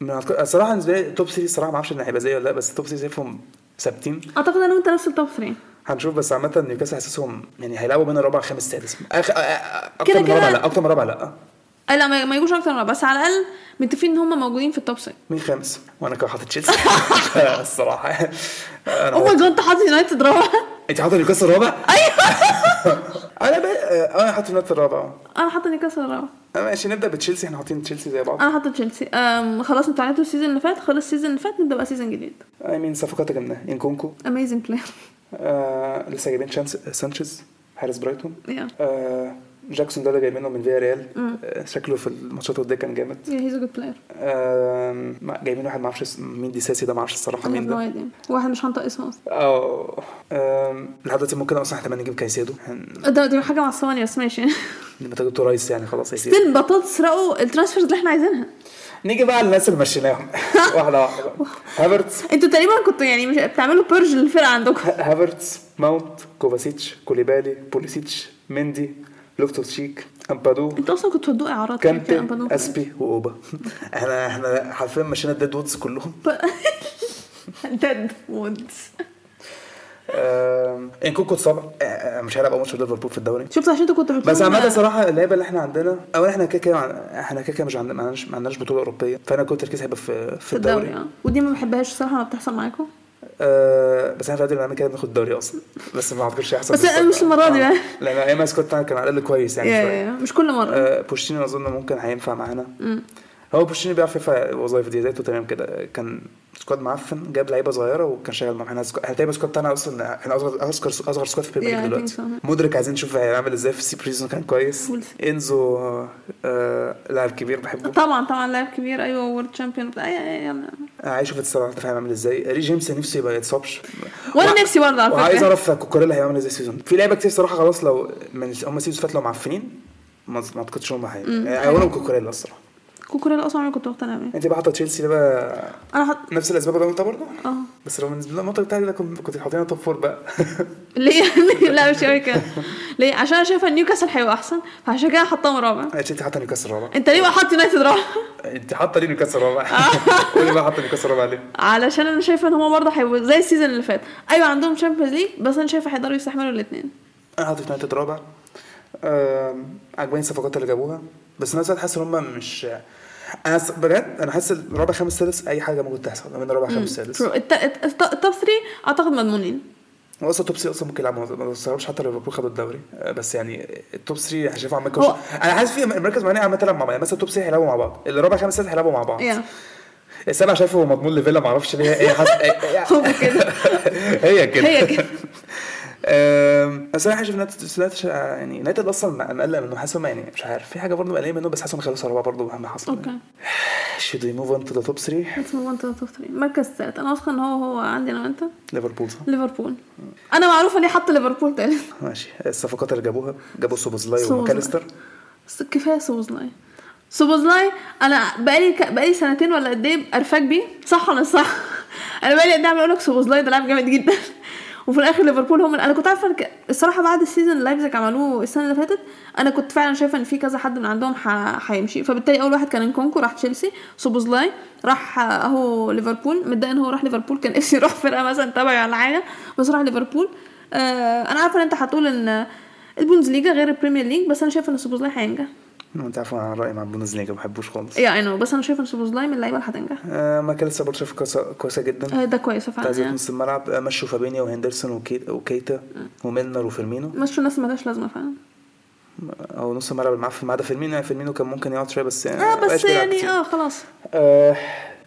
Speaker 2: من أعتقد- الصراحه بالنسبه لي توب 3 الصراحه ما اعرفش ان هيبقى زي ولا لا بس توب 3 شايفهم ثابتين
Speaker 1: اعتقد انا وانت نفس التوب 3
Speaker 2: هنشوف بس عامه نيوكاسل حاسسهم يعني هيلعبوا بين الرابع خامس سادس أخ... آه، آه، اكتر
Speaker 1: كده
Speaker 2: من رابع
Speaker 1: كده.
Speaker 2: لا اكتر من رابع لا
Speaker 1: أه لا ما ما يجوش اكتر من ربع، بس على الاقل متفقين ان هم موجودين في التوب 6
Speaker 2: مين خامس؟ وانا كده حاطط تشيلسي الصراحه انا
Speaker 1: اوه ماي جاد انت حاطط يونايتد رابع
Speaker 2: انت حاطط نيوكاسل الرابع؟ ايوه انا بقى انا حاطط النت الرابع
Speaker 1: انا حاطه نيوكاسل رابع
Speaker 2: آه، ماشي نبدا بتشيلسي احنا حاطين تشيلسي زي بعض
Speaker 1: انا حاطه تشيلسي أم، خلاص انتوا عرفتوا السيزون اللي فات خلص السيزون اللي فات نبدا بقى سيزون جديد
Speaker 2: اي مين صفقات جبناها انكونكو
Speaker 1: اميزنج بلاير
Speaker 2: آه لسه جايبين شانس سانشيز حارس برايتون
Speaker 1: يا
Speaker 2: آه جاكسون ده اللي جايبينه من فيا ريال آه، شكله في الماتشات والديه كان جامد
Speaker 1: يا هيز جود بلاير
Speaker 2: آه ما- جايبين واحد ما اعرفش اسم- مين دي ساسي ده ما اعرفش الصراحه مين
Speaker 1: أيوه.
Speaker 2: ده
Speaker 1: يعني. واحد مش هنطق اسمه اصلا
Speaker 2: اه آم، لحد دلوقتي ممكن اصلا احتمال نجيب كايسيدو
Speaker 1: ده دي حاجه معصباني بس ماشي
Speaker 2: لما تجيبوا رايس يعني خلاص هيسيب
Speaker 1: ستيل بطاطس سرقوا الترانسفيرز اللي احنا عايزينها
Speaker 2: نيجي بقى على الناس اللي مشيناهم واحده واحده بقى. هافرتس
Speaker 1: انتوا تقريبا كنتوا يعني مش بتعملوا بيرج للفرقه عندكم
Speaker 2: هافرتس ماونت كوفاسيتش كوليبالي بوليسيتش مندي لوفتوس شيك امبادو
Speaker 1: انتوا اصلا كنتوا هتدوقوا يعني، اعراض كده،
Speaker 2: كانتي
Speaker 1: أنا بضمن-
Speaker 2: اسبي واوبا احنا احنا حرفيا مشينا الديد وودز كلهم
Speaker 1: ديد وودز
Speaker 2: آم، انكوكو اتصاب آه، آه، مش هيلعب اول ماتش ليفربول في الدوري
Speaker 1: شفت عشان انتوا كنتوا
Speaker 2: بس
Speaker 1: بتقولوا
Speaker 2: عامة
Speaker 1: إن-
Speaker 2: صراحة اللعيبة اللي احنا عندنا اولا احنا كده كده عن- احنا كده كده مش عندنا ما عندناش ما عندناش بطولة أوروبية فانا كنت تركيزي هيبقى في في
Speaker 1: في الدوري
Speaker 2: الدوري
Speaker 1: اه ودي ما بحبهاش الصراحه لما بتحصل معاكم
Speaker 2: آه بس احنا في قادر نعمل كده بناخد الدوري اصلا بس ما اعتقدش هيحصل
Speaker 1: بس
Speaker 2: بالسرعة.
Speaker 1: مش المرة دي
Speaker 2: آه.
Speaker 1: بقى.
Speaker 2: لا لا ايام اسكتلاند كان على الاقل كويس يعني
Speaker 1: يا-
Speaker 2: شويه
Speaker 1: يا- مش كل مرة
Speaker 2: آه بوشيني اظن ممكن هينفع معانا هو بوشيني بيعرف يرفع الوظايف دي ذاته تمام كده كان سكواد معفن جاب لعيبه صغيره وكان شغال معاهم احنا سكواد- احنا تقريبا سكواد بتاعنا اصلا احنا اصغر اصغر اصغر سكواد في البريمير
Speaker 1: Yeah, I
Speaker 2: ليج
Speaker 1: think
Speaker 2: دلوقتي
Speaker 1: so.
Speaker 2: مدرك عايزين نشوف هيعمل ازاي في سي بريزون كان كويس
Speaker 1: Wilson.
Speaker 2: انزو آه لاعب كبير بحبه
Speaker 1: طبعا طبعا لاعب كبير ايوه وورد شامبيون بتاع أي- أي- أي-
Speaker 2: عايز اشوف السبعه هتفهم عامل ازاي ري جيمس نفسه يبقى يتصابش
Speaker 1: وانا نفسي برضه على
Speaker 2: وعايز
Speaker 1: فكره
Speaker 2: اعرف كوكوريلا هيعمل ازاي السيزون في لعيبه كتير صراحه خلاص لو من هم السيزون اللي فات لو معفنين ما ما اعتقدش هم هي اولهم كوكوريلا الصراحه
Speaker 1: كوكوريلا اصلا عمري كنت مقتنع بيه
Speaker 2: انت بقى حاطه تشيلسي ده بقى
Speaker 1: انا حط
Speaker 2: نفس الاسباب اللي أنا قلتها برضه
Speaker 1: اه
Speaker 2: بس لو بالنسبه لي المنطقه بتاعتي ده كنت كنت حاطينها توب فور بقى
Speaker 1: ليه لا مش قوي كده ليه عشان انا شايفه ان نيوكاسل هيبقى احسن فعشان كده حطاهم رابع
Speaker 2: أنا انت حاطه نيوكاسل رابع
Speaker 1: انت ليه بقى حاطط يونايتد رابع
Speaker 2: انت حاطه ليه نيوكاسل رابع قولي بقى حاطه نيوكاسل رابع ليه
Speaker 1: علشان انا شايفه ان هما برضه هيبقوا زي السيزون اللي فات ايوه عندهم شامبيونز ليج بس انا شايفه هيقدروا يستحملوا الاثنين
Speaker 2: انا حاطط يونايتد رابع آم، عجباني الصفقات اللي جابوها بس الناس حاسس ان هم مش انا س- بجد انا حاسس رابع خامس سادس اي حاجه ممكن تحصل من رابع خامس سادس
Speaker 1: التوب 3 اعتقد مضمونين
Speaker 2: هو اصلا توب 3 اصلا ممكن يلعبوا ما بستغربش حتى لو ليفربول خدوا الدوري آه، بس يعني التوب 3 هشوفه عمال كوش
Speaker 1: هو-
Speaker 2: انا حاسس في مركز معينه عمال تلعب مع بعض يعني مثلا التوب 3 هيلعبوا مع بعض الرابع خامس سادس هيلعبوا مع بعض
Speaker 1: يا
Speaker 2: السابع شايفه هو مضمون لفيلا ما اعرفش ليه هي حاسس هي-
Speaker 1: هو كده
Speaker 2: هي كده
Speaker 1: هي كده.
Speaker 2: آم، بس انا حاسس ان يونايتد يعني يونايتد اصلا مقلق منه حاسس إنهم يعني مش عارف في حاجه برضه مقلقه منه بس حاسس انهم خلصوا رابع برضه مهما حصل
Speaker 1: اوكي
Speaker 2: شود وي موف اون تو ذا توب 3
Speaker 1: اسمه 1 2 3 المركز الثالث انا واثقه ان هو هو عندي انا وانت
Speaker 2: ليفربول صح؟
Speaker 1: ليفربول انا معروفه ليه حط ليفربول ثالث
Speaker 2: ماشي الصفقات اللي جابوها جابوا سوبوزلاي
Speaker 1: سوبوزلاي.
Speaker 2: وماكاليستر
Speaker 1: بس كفايه سوبوزلاي سوبوزلاي انا بقالي ك... بقالي سنتين ولا قد ايه قرفاك بيه صح ولا مش صح انا بقالي قد ايه عمال اقول لك سوبوزلاي ده لاعب جامد جدا وفي الاخر ليفربول هم انا كنت عارفه إن ك- الصراحه بعد السيزون اللي لايبزيج عملوه السنه اللي فاتت انا كنت فعلا شايفه ان في كذا حد من عندهم ح- هيمشي فبالتالي اول واحد كان انكونكو راح تشيلسي سوبوزلاي راح اهو ليفربول متضايق ان هو راح ليفربول كان نفسي يروح فرقه مثلا تبعي ولا حاجه بس راح ليفربول آه انا عارفه ان انت هتقول ان البوندسليجا غير البريمير ليج بس انا شايفه ان سوبوزلاي هينجح
Speaker 2: انت عارف انا رايي مع بوندسليجا ما بحبوش خالص
Speaker 1: يا اي نو بس انا شايفه ان سوبوزلاي من اللعيبه اللي هتنجح
Speaker 2: آه، ماكاليستر برضه شايفه كويسة- كويسه جدا
Speaker 1: آه، ده كويس فعلا
Speaker 2: تعزيز
Speaker 1: يعني. آه.
Speaker 2: نص الملعب آه، مشوا فابينيا وهندرسون وكي- وكيتا وميلنر وفيرمينو
Speaker 1: مشوا الناس ما لهاش لازمه فعلا
Speaker 2: او نص الملعب المعفن ما عدا فيرمينو يعني فيرمينو كان ممكن يقعد شويه بس يعني
Speaker 1: اه بس
Speaker 2: مبقاش بيلعب
Speaker 1: يعني
Speaker 2: كتير.
Speaker 1: اه خلاص
Speaker 2: آه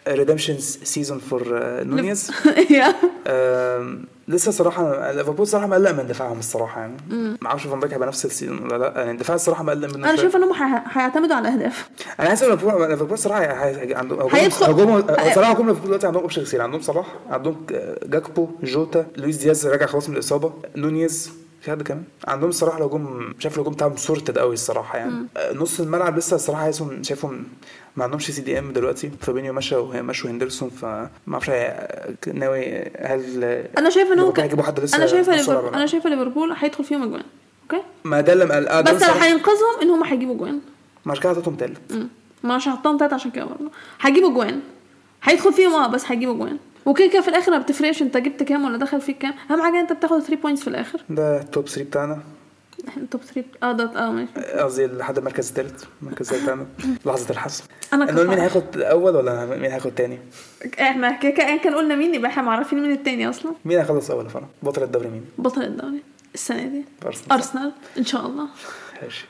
Speaker 2: ريدمشن سيزون فور آه، نونيز
Speaker 1: يا.
Speaker 2: آم، لسه صراحه ليفربول صراحه مقلق من دفاعهم الصراحه يعني ما اعرفش فان دايك هيبقى نفس السيزون ولا لا يعني الدفاع الصراحه مقلق منه
Speaker 1: انا
Speaker 2: شوية.
Speaker 1: شايفه انهم هي- هيعتمدوا على الاهداف
Speaker 2: انا حاسس إن ليفربول ليفربول صراحه هي- هي- يعني عندهم هجوم
Speaker 1: هيدخل-
Speaker 2: هجوم
Speaker 1: آه.
Speaker 2: صراحه هجوم ليفربول دلوقتي عندهم اوبشن كتير عندهم صلاح عندهم جاكبو جوتا لويس دياز راجع خلاص من الاصابه نونيز في حد كمان عندهم الصراحه الهجوم شايف الهجوم بتاعهم سورتد قوي الصراحه يعني آه، نص الملعب لسه الصراحه عايزهم شايفهم ما عندهمش سي دي ام دلوقتي فابينيو مشى ومشوا هندرسون فما اعرفش هي- ناوي هل
Speaker 1: انا شايفه انهم
Speaker 2: ليفربول
Speaker 1: ك-
Speaker 2: هيجيبوا حد لسه
Speaker 1: انا شايفه
Speaker 2: نص ملعب
Speaker 1: ليفربول
Speaker 2: ولا
Speaker 1: انا شايفه ليفربول هيدخل فيهم اجوان اوكي
Speaker 2: ما ده اللي مقلقني
Speaker 1: بس اللي هينقذهم ان هم هيجيبوا جوان
Speaker 2: ما عشان كده حطيتهم تالت
Speaker 1: مم. ما انا مش هحطهم تلاته عشان كده برضه هيجيبوا جوان هيدخل فيهم اه بس هيجيبوا جوان وكده كده في الاخر ما بتفرقش انت جبت كام ولا دخل فيك كام اهم حاجه انت بتاخد 3 بوينتس في الاخر
Speaker 2: ده التوب 3 بتاعنا
Speaker 1: التوب 3 اه ده اه ماشي
Speaker 2: قصدي لحد المركز الثالث المركز الثالث بتاعنا لحظه الحسم
Speaker 1: انا
Speaker 2: نقول مين
Speaker 1: كفاءة.
Speaker 2: هياخد الاول ولا مين هياخد تاني
Speaker 1: احنا إيه، كده كده أياً كان قلنا مين يبقى احنا معرفين مين التاني اصلا
Speaker 2: مين هيخلص اول يا فرح بطل الدوري مين
Speaker 1: بطل الدوري السنه دي
Speaker 2: أرسنال.
Speaker 1: ارسنال ان شاء الله
Speaker 2: ماشي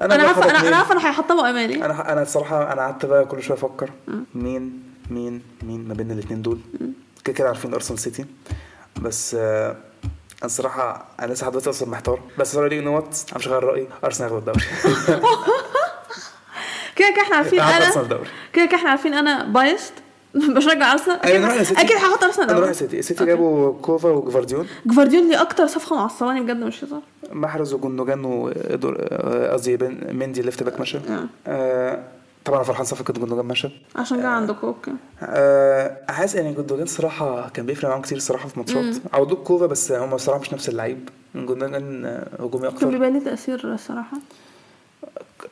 Speaker 1: انا
Speaker 2: بقى
Speaker 1: عارفه
Speaker 2: حاطط
Speaker 1: انا
Speaker 2: مين؟
Speaker 1: انا عارفه انا هيحطموا امالي
Speaker 2: انا انا الصراحه انا قعدت بقى كل شويه افكر مين مين مين ما بين الاثنين دول كده كده عارفين ارسنال سيتي بس آه، انا الصراحه انا لسه لحد دلوقتي اصلا محتار بس رايي ان وات انا مش هغير رايي ارسنال هياخد الدوري
Speaker 1: كده كده احنا عارفين
Speaker 2: هياخد
Speaker 1: انا
Speaker 2: ارسنال الدوري
Speaker 1: كده كده احنا عارفين انا بايست بشجع ارسنال
Speaker 2: أيوة، أنا رأيي
Speaker 1: اكيد
Speaker 2: سيتي.
Speaker 1: اكيد هحط ارسنال
Speaker 2: انا رايح
Speaker 1: الأول.
Speaker 2: سيتي سيتي جابوا كوفا وجفارديول
Speaker 1: جفارديول دي اكتر صفقه معصباني بجد مش هزار
Speaker 2: محرز وجندوجان ودور- قصدي بن- مندي ليفت باك مشى
Speaker 1: آه.
Speaker 2: آه، طبعا أنا فرحان صفقه جندوجان مشى
Speaker 1: عشان كده عندكم اوكي
Speaker 2: آه، حاسس ان جندوجان صراحه كان بيفرق معاهم كتير الصراحه في ماتشات عودوك كوفا بس هم صراحه مش نفس اللعيب جندوجان آه، هجومي
Speaker 1: كان
Speaker 2: اكتر
Speaker 1: بيبقى ليه تاثير الصراحه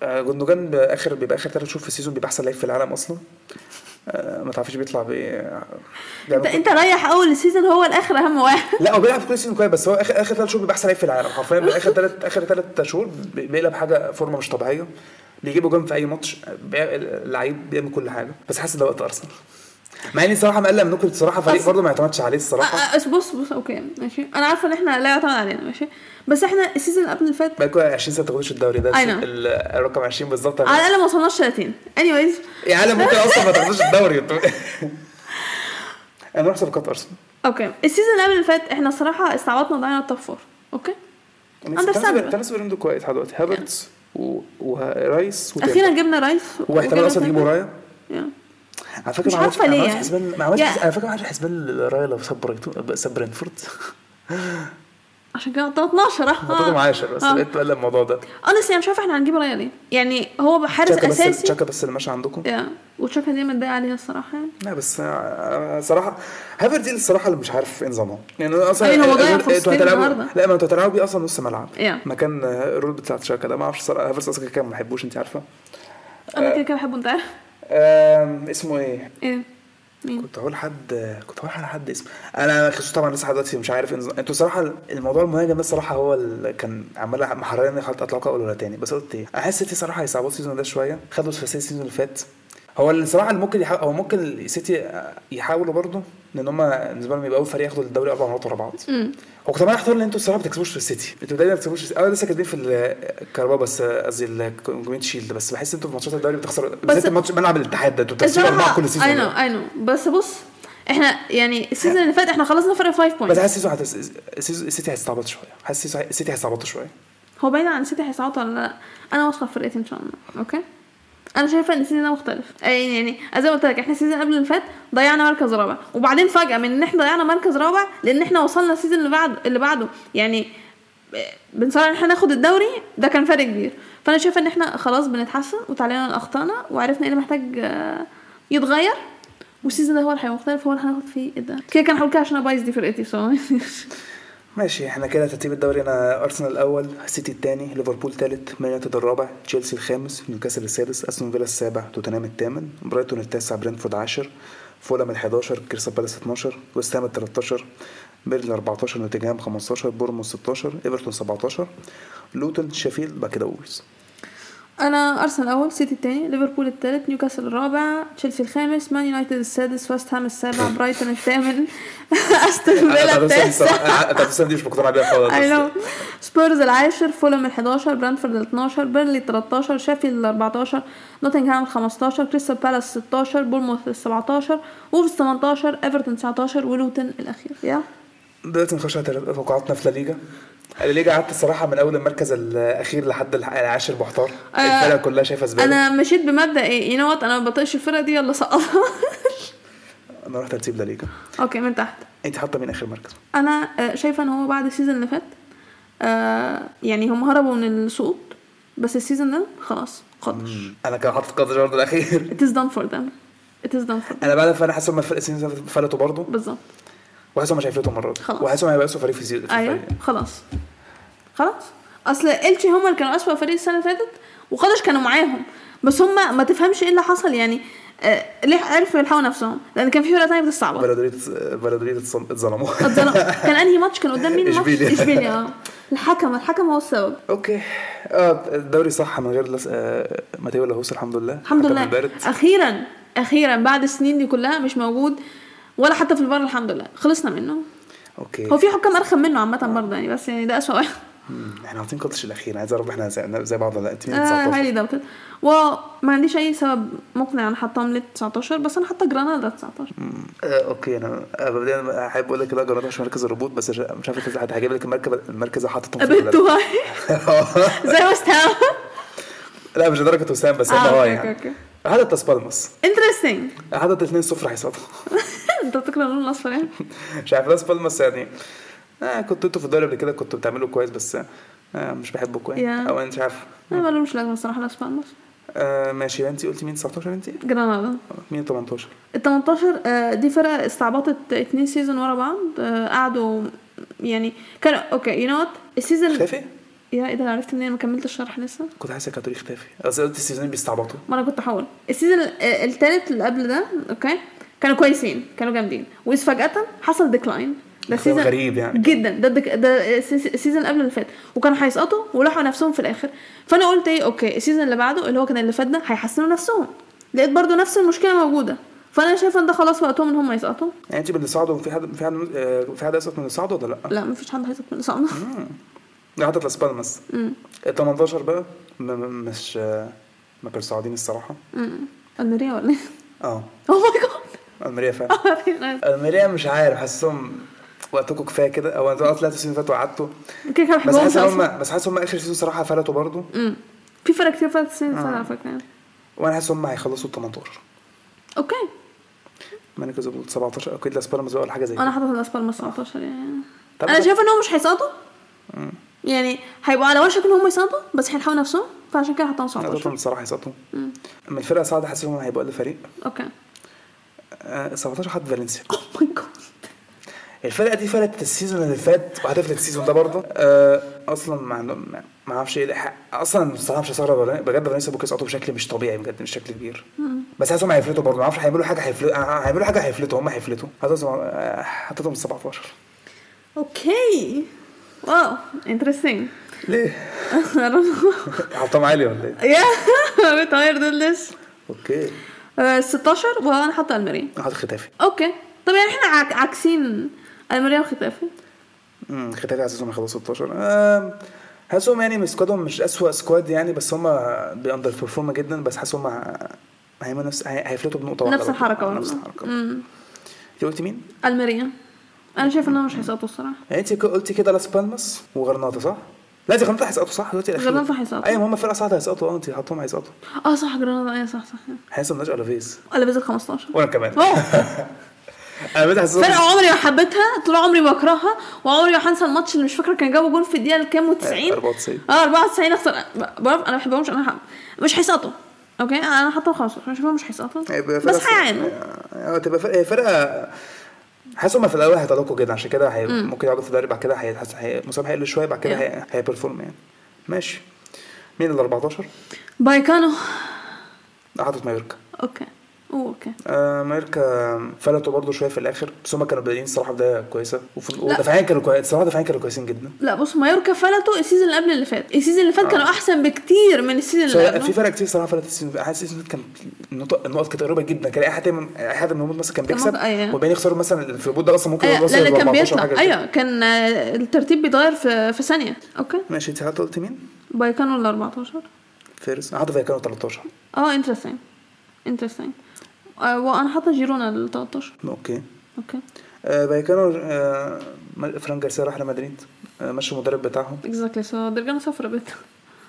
Speaker 2: آه، جندوجان باخر بيبقى اخر ثلاث شهور في السيزون بيبقى احسن لعيب في العالم اصلا آه، ما تعرفش بيطلع بايه آه،
Speaker 1: انت
Speaker 2: بيعمل-
Speaker 1: انت ريح اول السيزون هو الاخر اهم واحد
Speaker 2: لا هو بيلعب في كل سيزون كويس بس هو اخر اخر ثلاث شهور بيبقى احسن لعيب في العالم حرفيا بي- اخر ثلاث اخر ثلاث شهور بي- بيقلب حاجه فورمه مش طبيعيه بيجيبوا جون في اي ماتش بي- لعيب بيعمل كل حاجه بس حاسس ده وقت ارسنال مع اني صراحه مقلق من نوكل بصراحه فريق
Speaker 1: أصل-
Speaker 2: برضه ما يعتمدش عليه الصراحه
Speaker 1: آه، آه، بص بص اوكي ماشي انا عارفه ان احنا لا يعتمد علينا ماشي بس احنا السيزون اللي قبل اللي فات
Speaker 2: بقالكوا 20 سنه تاخدوش الدوري ده
Speaker 1: I know.
Speaker 2: ال- الرقم 20 بالظبط
Speaker 1: على الاقل ما وصلناش 30 anyways
Speaker 2: يا عالم ممكن اصلا ما تاخدوش الدوري انا بروح صفقات ارسنال
Speaker 1: اوكي السيزون اللي قبل اللي فات احنا الصراحه استعبطنا ضيعنا التوب فور اوكي Understandable.
Speaker 2: تمس بيرندو كويس لحد دلوقتي هافرتس و- ورايس وتيرزا.
Speaker 1: اخيرا جبنا رايس
Speaker 2: واحتمال اصلا تجيبوا رايا
Speaker 1: رايس
Speaker 2: على فكره
Speaker 1: مش
Speaker 2: ما عملتش-
Speaker 1: عارفة
Speaker 2: ما
Speaker 1: ليه
Speaker 2: عملتش
Speaker 1: يعني.
Speaker 2: حسبان ما عملتش
Speaker 1: يا-
Speaker 2: على فكره ما عملتش حسبان رايا لو ساب برايتون- ساب برينفورد
Speaker 1: عشان كده حطينا 12
Speaker 2: حطيته
Speaker 1: اه
Speaker 2: معايا عشرة، بس
Speaker 1: آه.
Speaker 2: بقيت بقلق الموضوع ده
Speaker 1: اونستلي انا مش عارفه احنا هنجيب رايا ليه يعني هو حارس
Speaker 2: تشاكا بس
Speaker 1: اساسي
Speaker 2: تشاكا بس اللي ماشي عندكم
Speaker 1: يا وتشاكا دي متضايقه عليها الصراحه يعني
Speaker 2: لا بس آه، آه، صراحه هافر دي الصراحه اللي مش عارف ايه نظامها يعني أنا اصلا
Speaker 1: أي، هو ضيع
Speaker 2: أنتوا
Speaker 1: فرصتين
Speaker 2: هتلعبوا-
Speaker 1: النهاردة.
Speaker 2: لا ما انتوا هتلعبوا بيه اصلا نص ملعب
Speaker 1: Yeah.
Speaker 2: مكان آه، الرول بتاع تشاكا ده ما اعرفش صراحه هافرز اصلا كده كده ما بحبوش انت عارفه آه.
Speaker 1: انا كده كده بحبه انت عارف
Speaker 2: آم، اسمه ايه
Speaker 1: ايه مين
Speaker 2: كنت هقول حد كنت هقول على حد اسمه انا خصوصا طبعا لسه لحد دلوقتي مش عارف إيه نظام- انتوا صراحه الموضوع المهاجم ده الصراحه هو اللي كان عمال محررني خلت اطلقه اقول ولا تاني بس قلت ايه انا حاسس سيتي صراحه هيصعبوا السيزون ده شويه خدوا الثلاثيه السيزون اللي فات هو اللي صراحه اللي ممكن يحاول هو ممكن السيتي يحاولوا برضه لان هم بالنسبه لهم يبقى اول فريق ياخدوا الدوري اربع مرات ورا بعض
Speaker 1: امم
Speaker 2: هو كنت عمال احتار ان انتوا الصراحه ما بتكسبوش في السيتي انتوا دايما ما بتكسبوش في السيتي اه لسه كاتبين في الكهرباء بس قصدي الكونجمنت شيلد بس بحس انتوا في ماتشات الدوري بتخسروا بالذات الماتش ملعب الاتحاد ده انتوا بتخسروا اربعه كل سيزون
Speaker 1: اي نو اي نو بس بص احنا يعني السيزون اللي فات احنا خلصنا فرق 5
Speaker 2: بس
Speaker 1: بوينتس
Speaker 2: حاسس سيزو هتس... سيزو السيتي هيستعبط شويه حاسس سيزو هي- السيتي هيستعبطوا شويه
Speaker 1: هو بعيد عن السيتي هيصعدوا ولا لا انا واثقه في فرقتي ان شاء الله اوكي انا شايفه ان السيزون ده مختلف أي يعني زي ما قلت لك احنا السيزون قبل اللي فات ضيعنا مركز رابع وبعدين فجاه من ان احنا ضيعنا مركز رابع لان احنا وصلنا السيزون اللي بعد اللي بعده يعني بنصارع ان احنا ناخد الدوري ده كان فرق كبير فانا شايفه ان احنا خلاص بنتحسن وتعلمنا من اخطائنا وعرفنا ايه اللي محتاج آه، يتغير والسيزون ده هو اللي هيبقى مختلف هو اللي هناخد فيه الدوري كده كان هقول كده عشان انا بايظ دي فرقتي بس
Speaker 2: ماشي احنا كده ترتيب الدوري انا ارسنال الاول السيتي الثاني ليفربول الثالث مان يونايتد الرابع تشيلسي الخامس نيوكاسل السادس استون فيلا السابع توتنهام الثامن برايتون التاسع برينفورد 10 فولهام ال 11 كريستال بالاس 12 ويست هام ال 13 بيرل 14 نوتنجهام 15 بورموث 16 ايفرتون 17 لوتون شيفيلد بعد كده وولز
Speaker 1: انا ارسنال الاول سيتي الثاني ليفربول الثالث نيوكاسل الرابع تشيلسي الخامس مان يونايتد السادس وست هام السابع برايتون الثامن استون فيلا التاسع
Speaker 2: التاسع دي مش مقتنع بيها خالص
Speaker 1: اي نو
Speaker 2: بس-
Speaker 1: سبيرز العاشر فولم ال 11 برانفورد ال 12 بيرلي ال 13 شيفيلد ال 14 نوتنغهام ال 15 كريستال بالاس 16 بورموث ال 17 وولفز 18 ايفرتون 19 ولوتن الاخير يا
Speaker 2: دلوقتي نخش على تل- توقعاتنا في الليجا الليجا قعدت الصراحه من اول المركز الاخير لحد الح- العاشر محتار
Speaker 1: آه،
Speaker 2: الفرقه كلها شايفه زباله انا
Speaker 1: انا مشيت بمبدا ايه يو نو وات انا ما بطيقش الفرقه دي يلا سقطها
Speaker 2: انا رحت ترتيب لا ليجا
Speaker 1: اوكي من تحت
Speaker 2: انت حاطه مين اخر مركز
Speaker 1: انا آه، شايفه ان هو بعد السيزون اللي فات آه، يعني هم هربوا من السقوط بس السيزون ده خلاص قدر
Speaker 2: انا كان حاطط قدر جارد الاخير
Speaker 1: it is done for them it is done for them
Speaker 2: انا بعد فانا حاسس ان الفرق السنين اللي فاتت فلتوا برضه
Speaker 1: بالظبط
Speaker 2: وحاسس إن هم شايفينهم مره
Speaker 1: خلاص.
Speaker 2: وحاسس إن هم هيبقى اسوء فريق في السيزون
Speaker 1: ايوه خلاص خلاص اصل التشي هم اللي كانوا اسوأ فريق السنه اللي فاتت وخدش كانوا معاهم بس هم ما تفهمش ايه اللي حصل يعني آه، ليه عرفوا يلحقوا نفسهم لان كان في فرقه ثانيه بتستعبط
Speaker 2: بلادريد بلادريد اتصل- اتظلموا
Speaker 1: اتظلم- كان انهي ماتش كان قدام مين الماتش
Speaker 2: إشبيليا.
Speaker 1: اشبيليا آه. الحكم الحكم هو السبب
Speaker 2: اوكي اه الدوري صح من غير لس... آه، ماتيو لاهوس الحمد لله
Speaker 1: الحمد
Speaker 2: حتى
Speaker 1: لله آه.
Speaker 2: من بارد.
Speaker 1: اخيرا اخيرا بعد السنين دي كلها مش موجود ولا حتى في البر الحمد لله خلصنا منه
Speaker 2: اوكي
Speaker 1: هو في حكام ارخم منه عامه
Speaker 2: آه.
Speaker 1: برضه يعني بس يعني ده اسوء واحد
Speaker 2: مم، احنا عاطين كلتش الاخير عايز اعرف احنا زي زي بعض ولا لا انت مين
Speaker 1: آه
Speaker 2: 19
Speaker 1: هايلي داوتد وما عنديش اي سبب مقنع انا حاطاه من 19 بس انا حاطه جرانادا 19
Speaker 2: آه، اوكي انا أنا مبدئيا احب اقول لك ده جربت عشان مركز الربوط بس مش مش عارف إنت هجيب لك المركز المركز حاططهم في
Speaker 1: قابلته هاي
Speaker 2: البلد.
Speaker 1: زي وست هام
Speaker 2: لا مش لدرجه وسام بس
Speaker 1: آه،
Speaker 2: هم اه
Speaker 1: أوكي،
Speaker 2: يعني
Speaker 1: أوكي.
Speaker 2: حدث تاس بالماس
Speaker 1: انترستنج
Speaker 2: حدث 2 0 هيصعدوا
Speaker 1: انت بتكره اللون الاصفر يعني
Speaker 2: مش عارف تاس بالماس يعني آه كنت انتوا في الدوري قبل كده كنتوا بتعملوا كويس بس آه مش بحبكم يعني
Speaker 1: يا.
Speaker 2: او انا مش عارف
Speaker 1: انا ما لهمش لازمه الصراحه الاسبوع المصري
Speaker 2: آه ماشي انت قلتي مين 19 انت
Speaker 1: جرانادا
Speaker 2: مين 18
Speaker 1: ال 18 آه، دي فرقه استعبطت اتنين سيزون ورا بعض آه، قعدوا يعني كان اوكي يو نو وات السيزون
Speaker 2: اختفي
Speaker 1: يا ايه ده أنا عرفت منين ما كملتش الشرح لسه
Speaker 2: كنت حاسس كاتوري اختفي قصدي قلت السيزونين بيستعبطوا
Speaker 1: ما انا كنت هقول السيزون الثالث اللي قبل ده اوكي كانوا كويسين كانوا جامدين وإذ فجاه حصل ديكلاين ده
Speaker 2: ديكلاين
Speaker 1: سيزون
Speaker 2: غريب يعني.
Speaker 1: جدا ده الدك... ده السيز- السيزون اللي قبل اللي فات وكانوا هيسقطوا ولحقوا نفسهم في الاخر فانا قلت ايه اوكي السيزون اللي بعده اللي هو كان اللي فات ده هيحسنوا نفسهم لقيت برضو نفس المشكله موجوده فانا شايفه ان ده خلاص وقتهم ان هم يسقطوا
Speaker 2: يعني انت من اللي صعدوا في حد في حد آه، في حد اسقط من اللي صعدوا ولا لا؟
Speaker 1: لا مفيش حد هيسقط من الاسقاط
Speaker 2: مم. لا حتى لاس بالماس
Speaker 1: امم
Speaker 2: ال 18 بقى م- م- مش آه، ما كانوا صاعدين الصراحه
Speaker 1: امم الميريا ولا ايه؟
Speaker 2: اه
Speaker 1: اوه ماي جاد
Speaker 2: الميريا فعلا الميريا مش عارف حاسسهم وقتكم كفايه كده او انتوا اه طلعتوا السنين اللي فاتوا وقعدتوا
Speaker 1: كده كده
Speaker 2: بس حاسس
Speaker 1: بحبهم
Speaker 2: ان هم بس حاسس ان هم اخر سيزون صراحه فلتوا برضه
Speaker 1: امم في فرق كتير فرق سنين
Speaker 2: آه.
Speaker 1: على فكره يعني
Speaker 2: وانا حاسس ان هم هيخلصوا ال 18
Speaker 1: اوكي
Speaker 2: ما انا كسبوا 17 اكيد لاس بالماس بقى ولا حاجه زي
Speaker 1: انا
Speaker 2: كده
Speaker 1: حاطط الاسبال من 19 يعني
Speaker 2: طب
Speaker 1: انا
Speaker 2: ده-
Speaker 1: شايفه انهم مش هيسقطوا
Speaker 2: مم.
Speaker 1: يعني هيبقوا على وشك ان هم يسقطوا بس هيلحقوا نفسهم فعشان كده حطهم
Speaker 2: انا
Speaker 1: 19
Speaker 2: قلتهم الصراحه هيسقطوا
Speaker 1: مم.
Speaker 2: من الفرقه صعد حاسس ان هم هيبقوا اقل فريق
Speaker 1: اوكي
Speaker 2: آه، 17 حد فالنسيا
Speaker 1: اوه ماي جاد
Speaker 2: الفرقه دي فلتت السيزون اللي فات وهتفلت السيزون ده برضه آه، اصلا ما عندهم ما اعرفش ايه الحق. اصلا الصراحه مش هستغرب ولا بجد فالنسيا بكره يسقطوا بشكل مش طبيعي بجد مش شكل كبير بس حاسسهم هيفلتوا برضه ما اعرفش هيعملوا حاجه هيفلتوا آه، هيعملوا حاجه هيفلتوا هم هيفلتوا حطيتهم آه، حطيتهم 17
Speaker 1: اوكي واو انترستنج
Speaker 2: ليه؟
Speaker 1: يا
Speaker 2: حطهم عالي ولا ايه؟
Speaker 1: بتغير دول لسه
Speaker 2: اوكي
Speaker 1: آه، 16 وانا حاطه الماريا
Speaker 2: حاطط ختافي
Speaker 1: اوكي طب يعني احنا عك- عاكسين الماريا وختافي
Speaker 2: امم ختافي حاسسهم هيخلصوا 16 آم، حاسسهم يعني من سكوادهم مش اسوأ سكواد يعني بس هم باندر بيرفورم جدا بس حاسسهم ه- هيعملوا نفس هي- هيفلتوا بنقطه واحده
Speaker 1: نفس
Speaker 2: برضه.
Speaker 1: الحركه
Speaker 2: نفس
Speaker 1: برضه
Speaker 2: الحركه
Speaker 1: أمم.
Speaker 2: انت قلت مين؟
Speaker 1: الماريا انا شايفه انهم مش هيسقطوا الصراحه
Speaker 2: يعني انت ك- قلتي كده لاس بالماس وغرناطه صح؟ لا دي غرناطه هيسقطوا صح دلوقتي الاخير
Speaker 1: غرناطة هيسقطوا.
Speaker 2: ايوه هم فرقه صعبه هيسقطوا اه انت حاطهم هيسقطوا
Speaker 1: اه صح جرانادا ايه صح صح
Speaker 2: حاسس مالناش الافيز
Speaker 1: انا بنزل 15
Speaker 2: وانا كمان
Speaker 1: واو
Speaker 2: انا بقيت حاسس
Speaker 1: فرقة عمري ما حبيتها طول عمري بكرهها وعمري ما هنسى الماتش اللي مش فاكره كان جابوا جول في الدقيقه الكام و90
Speaker 2: 94
Speaker 1: اه 94 اخسر بعرف انا ما بحبهمش انا حب. مش هيسقطوا اوكي انا حاطه 15 انا شايفهم مش هيسقطوا
Speaker 2: هيبقى فرقة
Speaker 1: بس يعني.
Speaker 2: صعبة.
Speaker 1: هيعانوا
Speaker 2: اه تبقى فرقه هي فرقه حاسس هما في الاول هيتلقوا جدا عشان كده هي ممكن يقعدوا في الدوري بعد كده هي- حاسس هي- مستواهم هيقل شويه بعد كده هي- هيبرفورم يعني ماشي مين ال 14
Speaker 1: بايكانو
Speaker 2: حاطط مايوركا
Speaker 1: اوكي أوه، اوكي
Speaker 2: آه مايوركا فلتوا برضه شويه في الاخر بس هما كانوا بادئين الصراحه بدايه كويسه وفي- ودفاعيا كانوا كويس الصراحه دفاعيا كانوا كويسين جدا
Speaker 1: لا بص مايوركا فلتوا السيزون اللي قبل اللي فات السيزون اللي فات كانوا احسن بكتير من السيزون اللي
Speaker 2: لا، آه. في
Speaker 1: قبله
Speaker 2: فرق كتير صراحه فرق السيزون ده. حاسس السيزون ده كان النقط- النقط كانت قريبه جدا كان اي حد من اي حد منهم مثلا كان
Speaker 1: كان
Speaker 2: بيكسب
Speaker 1: ممكن- أيوة.
Speaker 2: وبين يخسروا مثلا في الهبوط ده اصلا ممكن
Speaker 1: آه،
Speaker 2: يوصل
Speaker 1: لا لا
Speaker 2: ل
Speaker 1: كان
Speaker 2: 14
Speaker 1: بيطلع
Speaker 2: حاجة زي كده.
Speaker 1: ايوه كان آه، الترتيب بيتغير في في ثانيه اوكي
Speaker 2: ماشي انت حاطط قلت مين؟
Speaker 1: بايكانو ال 14
Speaker 2: فيرس حاطط فايكانو 13
Speaker 1: اه انترستنج انترستنج وانا حاطه آه، جيرونا ال 13
Speaker 2: اوكي
Speaker 1: اوكي
Speaker 2: آه فايكانو آه م- فران جارسيا راح لمدريد آه مشوا المدرب بتاعهم
Speaker 1: اكزاكتلي سو درجنا صفرة بيت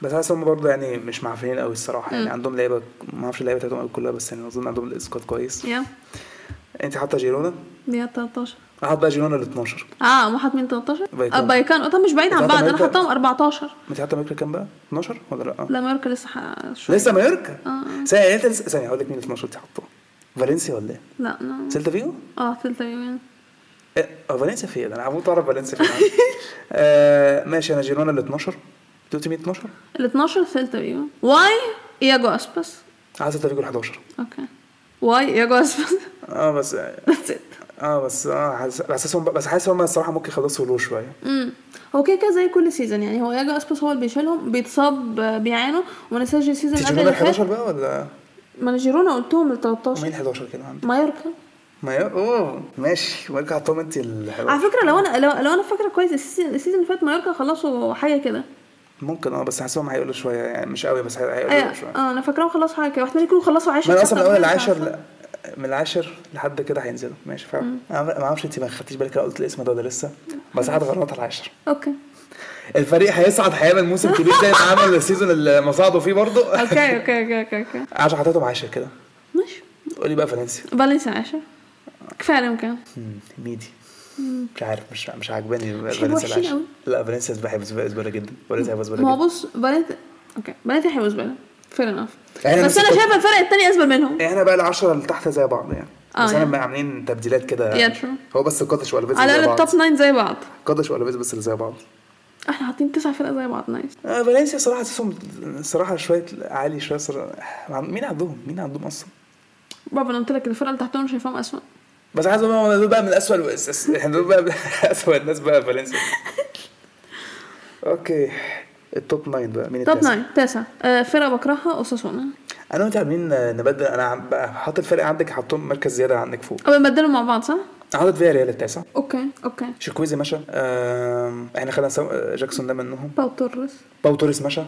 Speaker 2: بس حاسس هم برضه يعني مش معفنين قوي الصراحه يعني عندهم لعيبه ما اعرفش اللعيبه بتاعتهم قوي كلها بس يعني اظن عندهم سكواد كويس
Speaker 1: يا
Speaker 2: انت حاطه جيرونا
Speaker 1: دي 13
Speaker 2: احط بقى جيرونا ال الاتناشر
Speaker 1: اه مو حاطين 13
Speaker 2: بايكانو.
Speaker 1: اه بايكانو طب مش بعيد عن
Speaker 2: طب
Speaker 1: بعض انا
Speaker 2: أمريكا-
Speaker 1: حطاهم 14
Speaker 2: انت حاطه مايوركا كام بقى؟ 12 ولا لا؟
Speaker 1: لا مايوركا لسه ح- شويه
Speaker 2: لسه مايوركا؟
Speaker 1: آه.
Speaker 2: ثانية يعني انت لسه- ثانية هقول لك مين ال 12 انت حاطاه فالنسيا ولا ايه؟
Speaker 1: لا لا
Speaker 2: سيلتا فيجو؟
Speaker 1: اه ثالثة يومين
Speaker 2: ايه اه فالنسيا فين؟ انا هموت اعرف فالنسيا فين آه ماشي انا جيرونا ال 12 انت قلت مين 12
Speaker 1: ال 12 ثالثة يوم واي اياجو اسباس
Speaker 2: عايز سيلتا فيجو ال 11
Speaker 1: اوكي واي اياجو اسباس
Speaker 2: اه بس
Speaker 1: That's it.
Speaker 2: اه بس اه حاسس- بس حاسس هم بس حاسس هم الصراحه ممكن يخلصوا له شويه
Speaker 1: امم هو كده كده زي كل سيزون يعني هو اياجو اسباس هو اللي بيشيلهم بيتصاب آه، بيعانوا ونسجل السيزون اللي قبل
Speaker 2: تجيبون
Speaker 1: اللي
Speaker 2: ال 11
Speaker 1: فات
Speaker 2: بقى ولا
Speaker 1: ما أنا جيرونا قلتهم ال 13
Speaker 2: مين ال 11 كده عندك؟
Speaker 1: مايوركا
Speaker 2: ما ي- اوه ماشي وارجع حطهم انت ال
Speaker 1: على
Speaker 2: 11
Speaker 1: فكره لو انا لو, لو انا فاكره كويس السيزون السيزون اللي فات مايوركا خلصوا حاجه كده
Speaker 2: ممكن اه بس حاسسهم هيقولوا شويه يعني مش قوي بس هي- هيقولوا
Speaker 1: ايوه
Speaker 2: شويه
Speaker 1: آه، انا فاكراهم خلصوا حاجه كده واحتمال يكونوا خلصوا 10
Speaker 2: ما انا اصلا من اول العاشر
Speaker 1: العاشر
Speaker 2: ل- من العاشر لحد كده هينزلوا ماشي فعلا انا ما اعرفش انت ما خدتيش بالك أنا قلت الاسم ده ولا لسه بس حد غلط على العاشر
Speaker 1: اوكي
Speaker 2: الفريق هيصعد هيعمل موسم كبير زي ما عمل السيزون اللي ما صعدوا فيه برضه
Speaker 1: اوكي اوكي اوكي اوكي, أوكي.
Speaker 2: عشان حطيتهم عاشر كده
Speaker 1: ماشي
Speaker 2: قولي بقى فالنسيا
Speaker 1: فالنسيا 10 كفايه عليهم كده
Speaker 2: مم، ميدي مش عارف مش مش عاجباني
Speaker 1: مش هيبقوا
Speaker 2: فالنسيا
Speaker 1: وحشين
Speaker 2: العاشر
Speaker 1: أوي.
Speaker 2: لا فالنسيا بحب زباله جدا فالنسيا بحب
Speaker 1: ما
Speaker 2: زباله
Speaker 1: هو
Speaker 2: جدا
Speaker 1: بص فالنسيا اوكي فالنسيا هيبقوا زباله فير انف
Speaker 2: يعني أنا
Speaker 1: بس انا
Speaker 2: مسكت-
Speaker 1: شايفه الفرق الثاني ازبل منهم
Speaker 2: احنا بقى العشرة اللي تحت زي بعض يعني
Speaker 1: آه،
Speaker 2: بس احنا
Speaker 1: يعني.
Speaker 2: بقى عاملين تبديلات كده
Speaker 1: Yeah, true.
Speaker 2: هو بس قدش والفيز
Speaker 1: على
Speaker 2: اللي زي
Speaker 1: الاقل
Speaker 2: بعض
Speaker 1: التوب 9 زي بعض
Speaker 2: قدش والفيز بس اللي زي بعض
Speaker 1: احنا حاطين تسع فرق زي بعض نايس
Speaker 2: آه، فالنسيا صراحة حاسسهم صراحة شوية عالي شوية صراحة. مين عندهم؟ مين عندهم أصلا؟
Speaker 1: بابا انا قلت لك الفرقه اللي تحتهم شايفاهم اسوء
Speaker 2: بس عايز اقول لهم دول بقى من أسوأ الوس- احنا يعني دول بقى من أسوأ الناس بقى فالنسيا اوكي التوب 9 بقى مين
Speaker 1: توب
Speaker 2: التاسع؟
Speaker 1: 9 تاسع آه، فرقه بكرهها اوساسونا
Speaker 2: انا وانت عاملين نبدل انا عم- بقى حاطط الفرق عندك حاطهم مركز زياده عنك فوق
Speaker 1: او نبدلهم مع بعض صح؟
Speaker 2: حاطط فيها ريال التاسع
Speaker 1: اوكي اوكي
Speaker 2: شيكويزي مشى آم، احنا خدنا سو- آه، جاكسون ده منهم
Speaker 1: باو توريس
Speaker 2: باو توريس مشى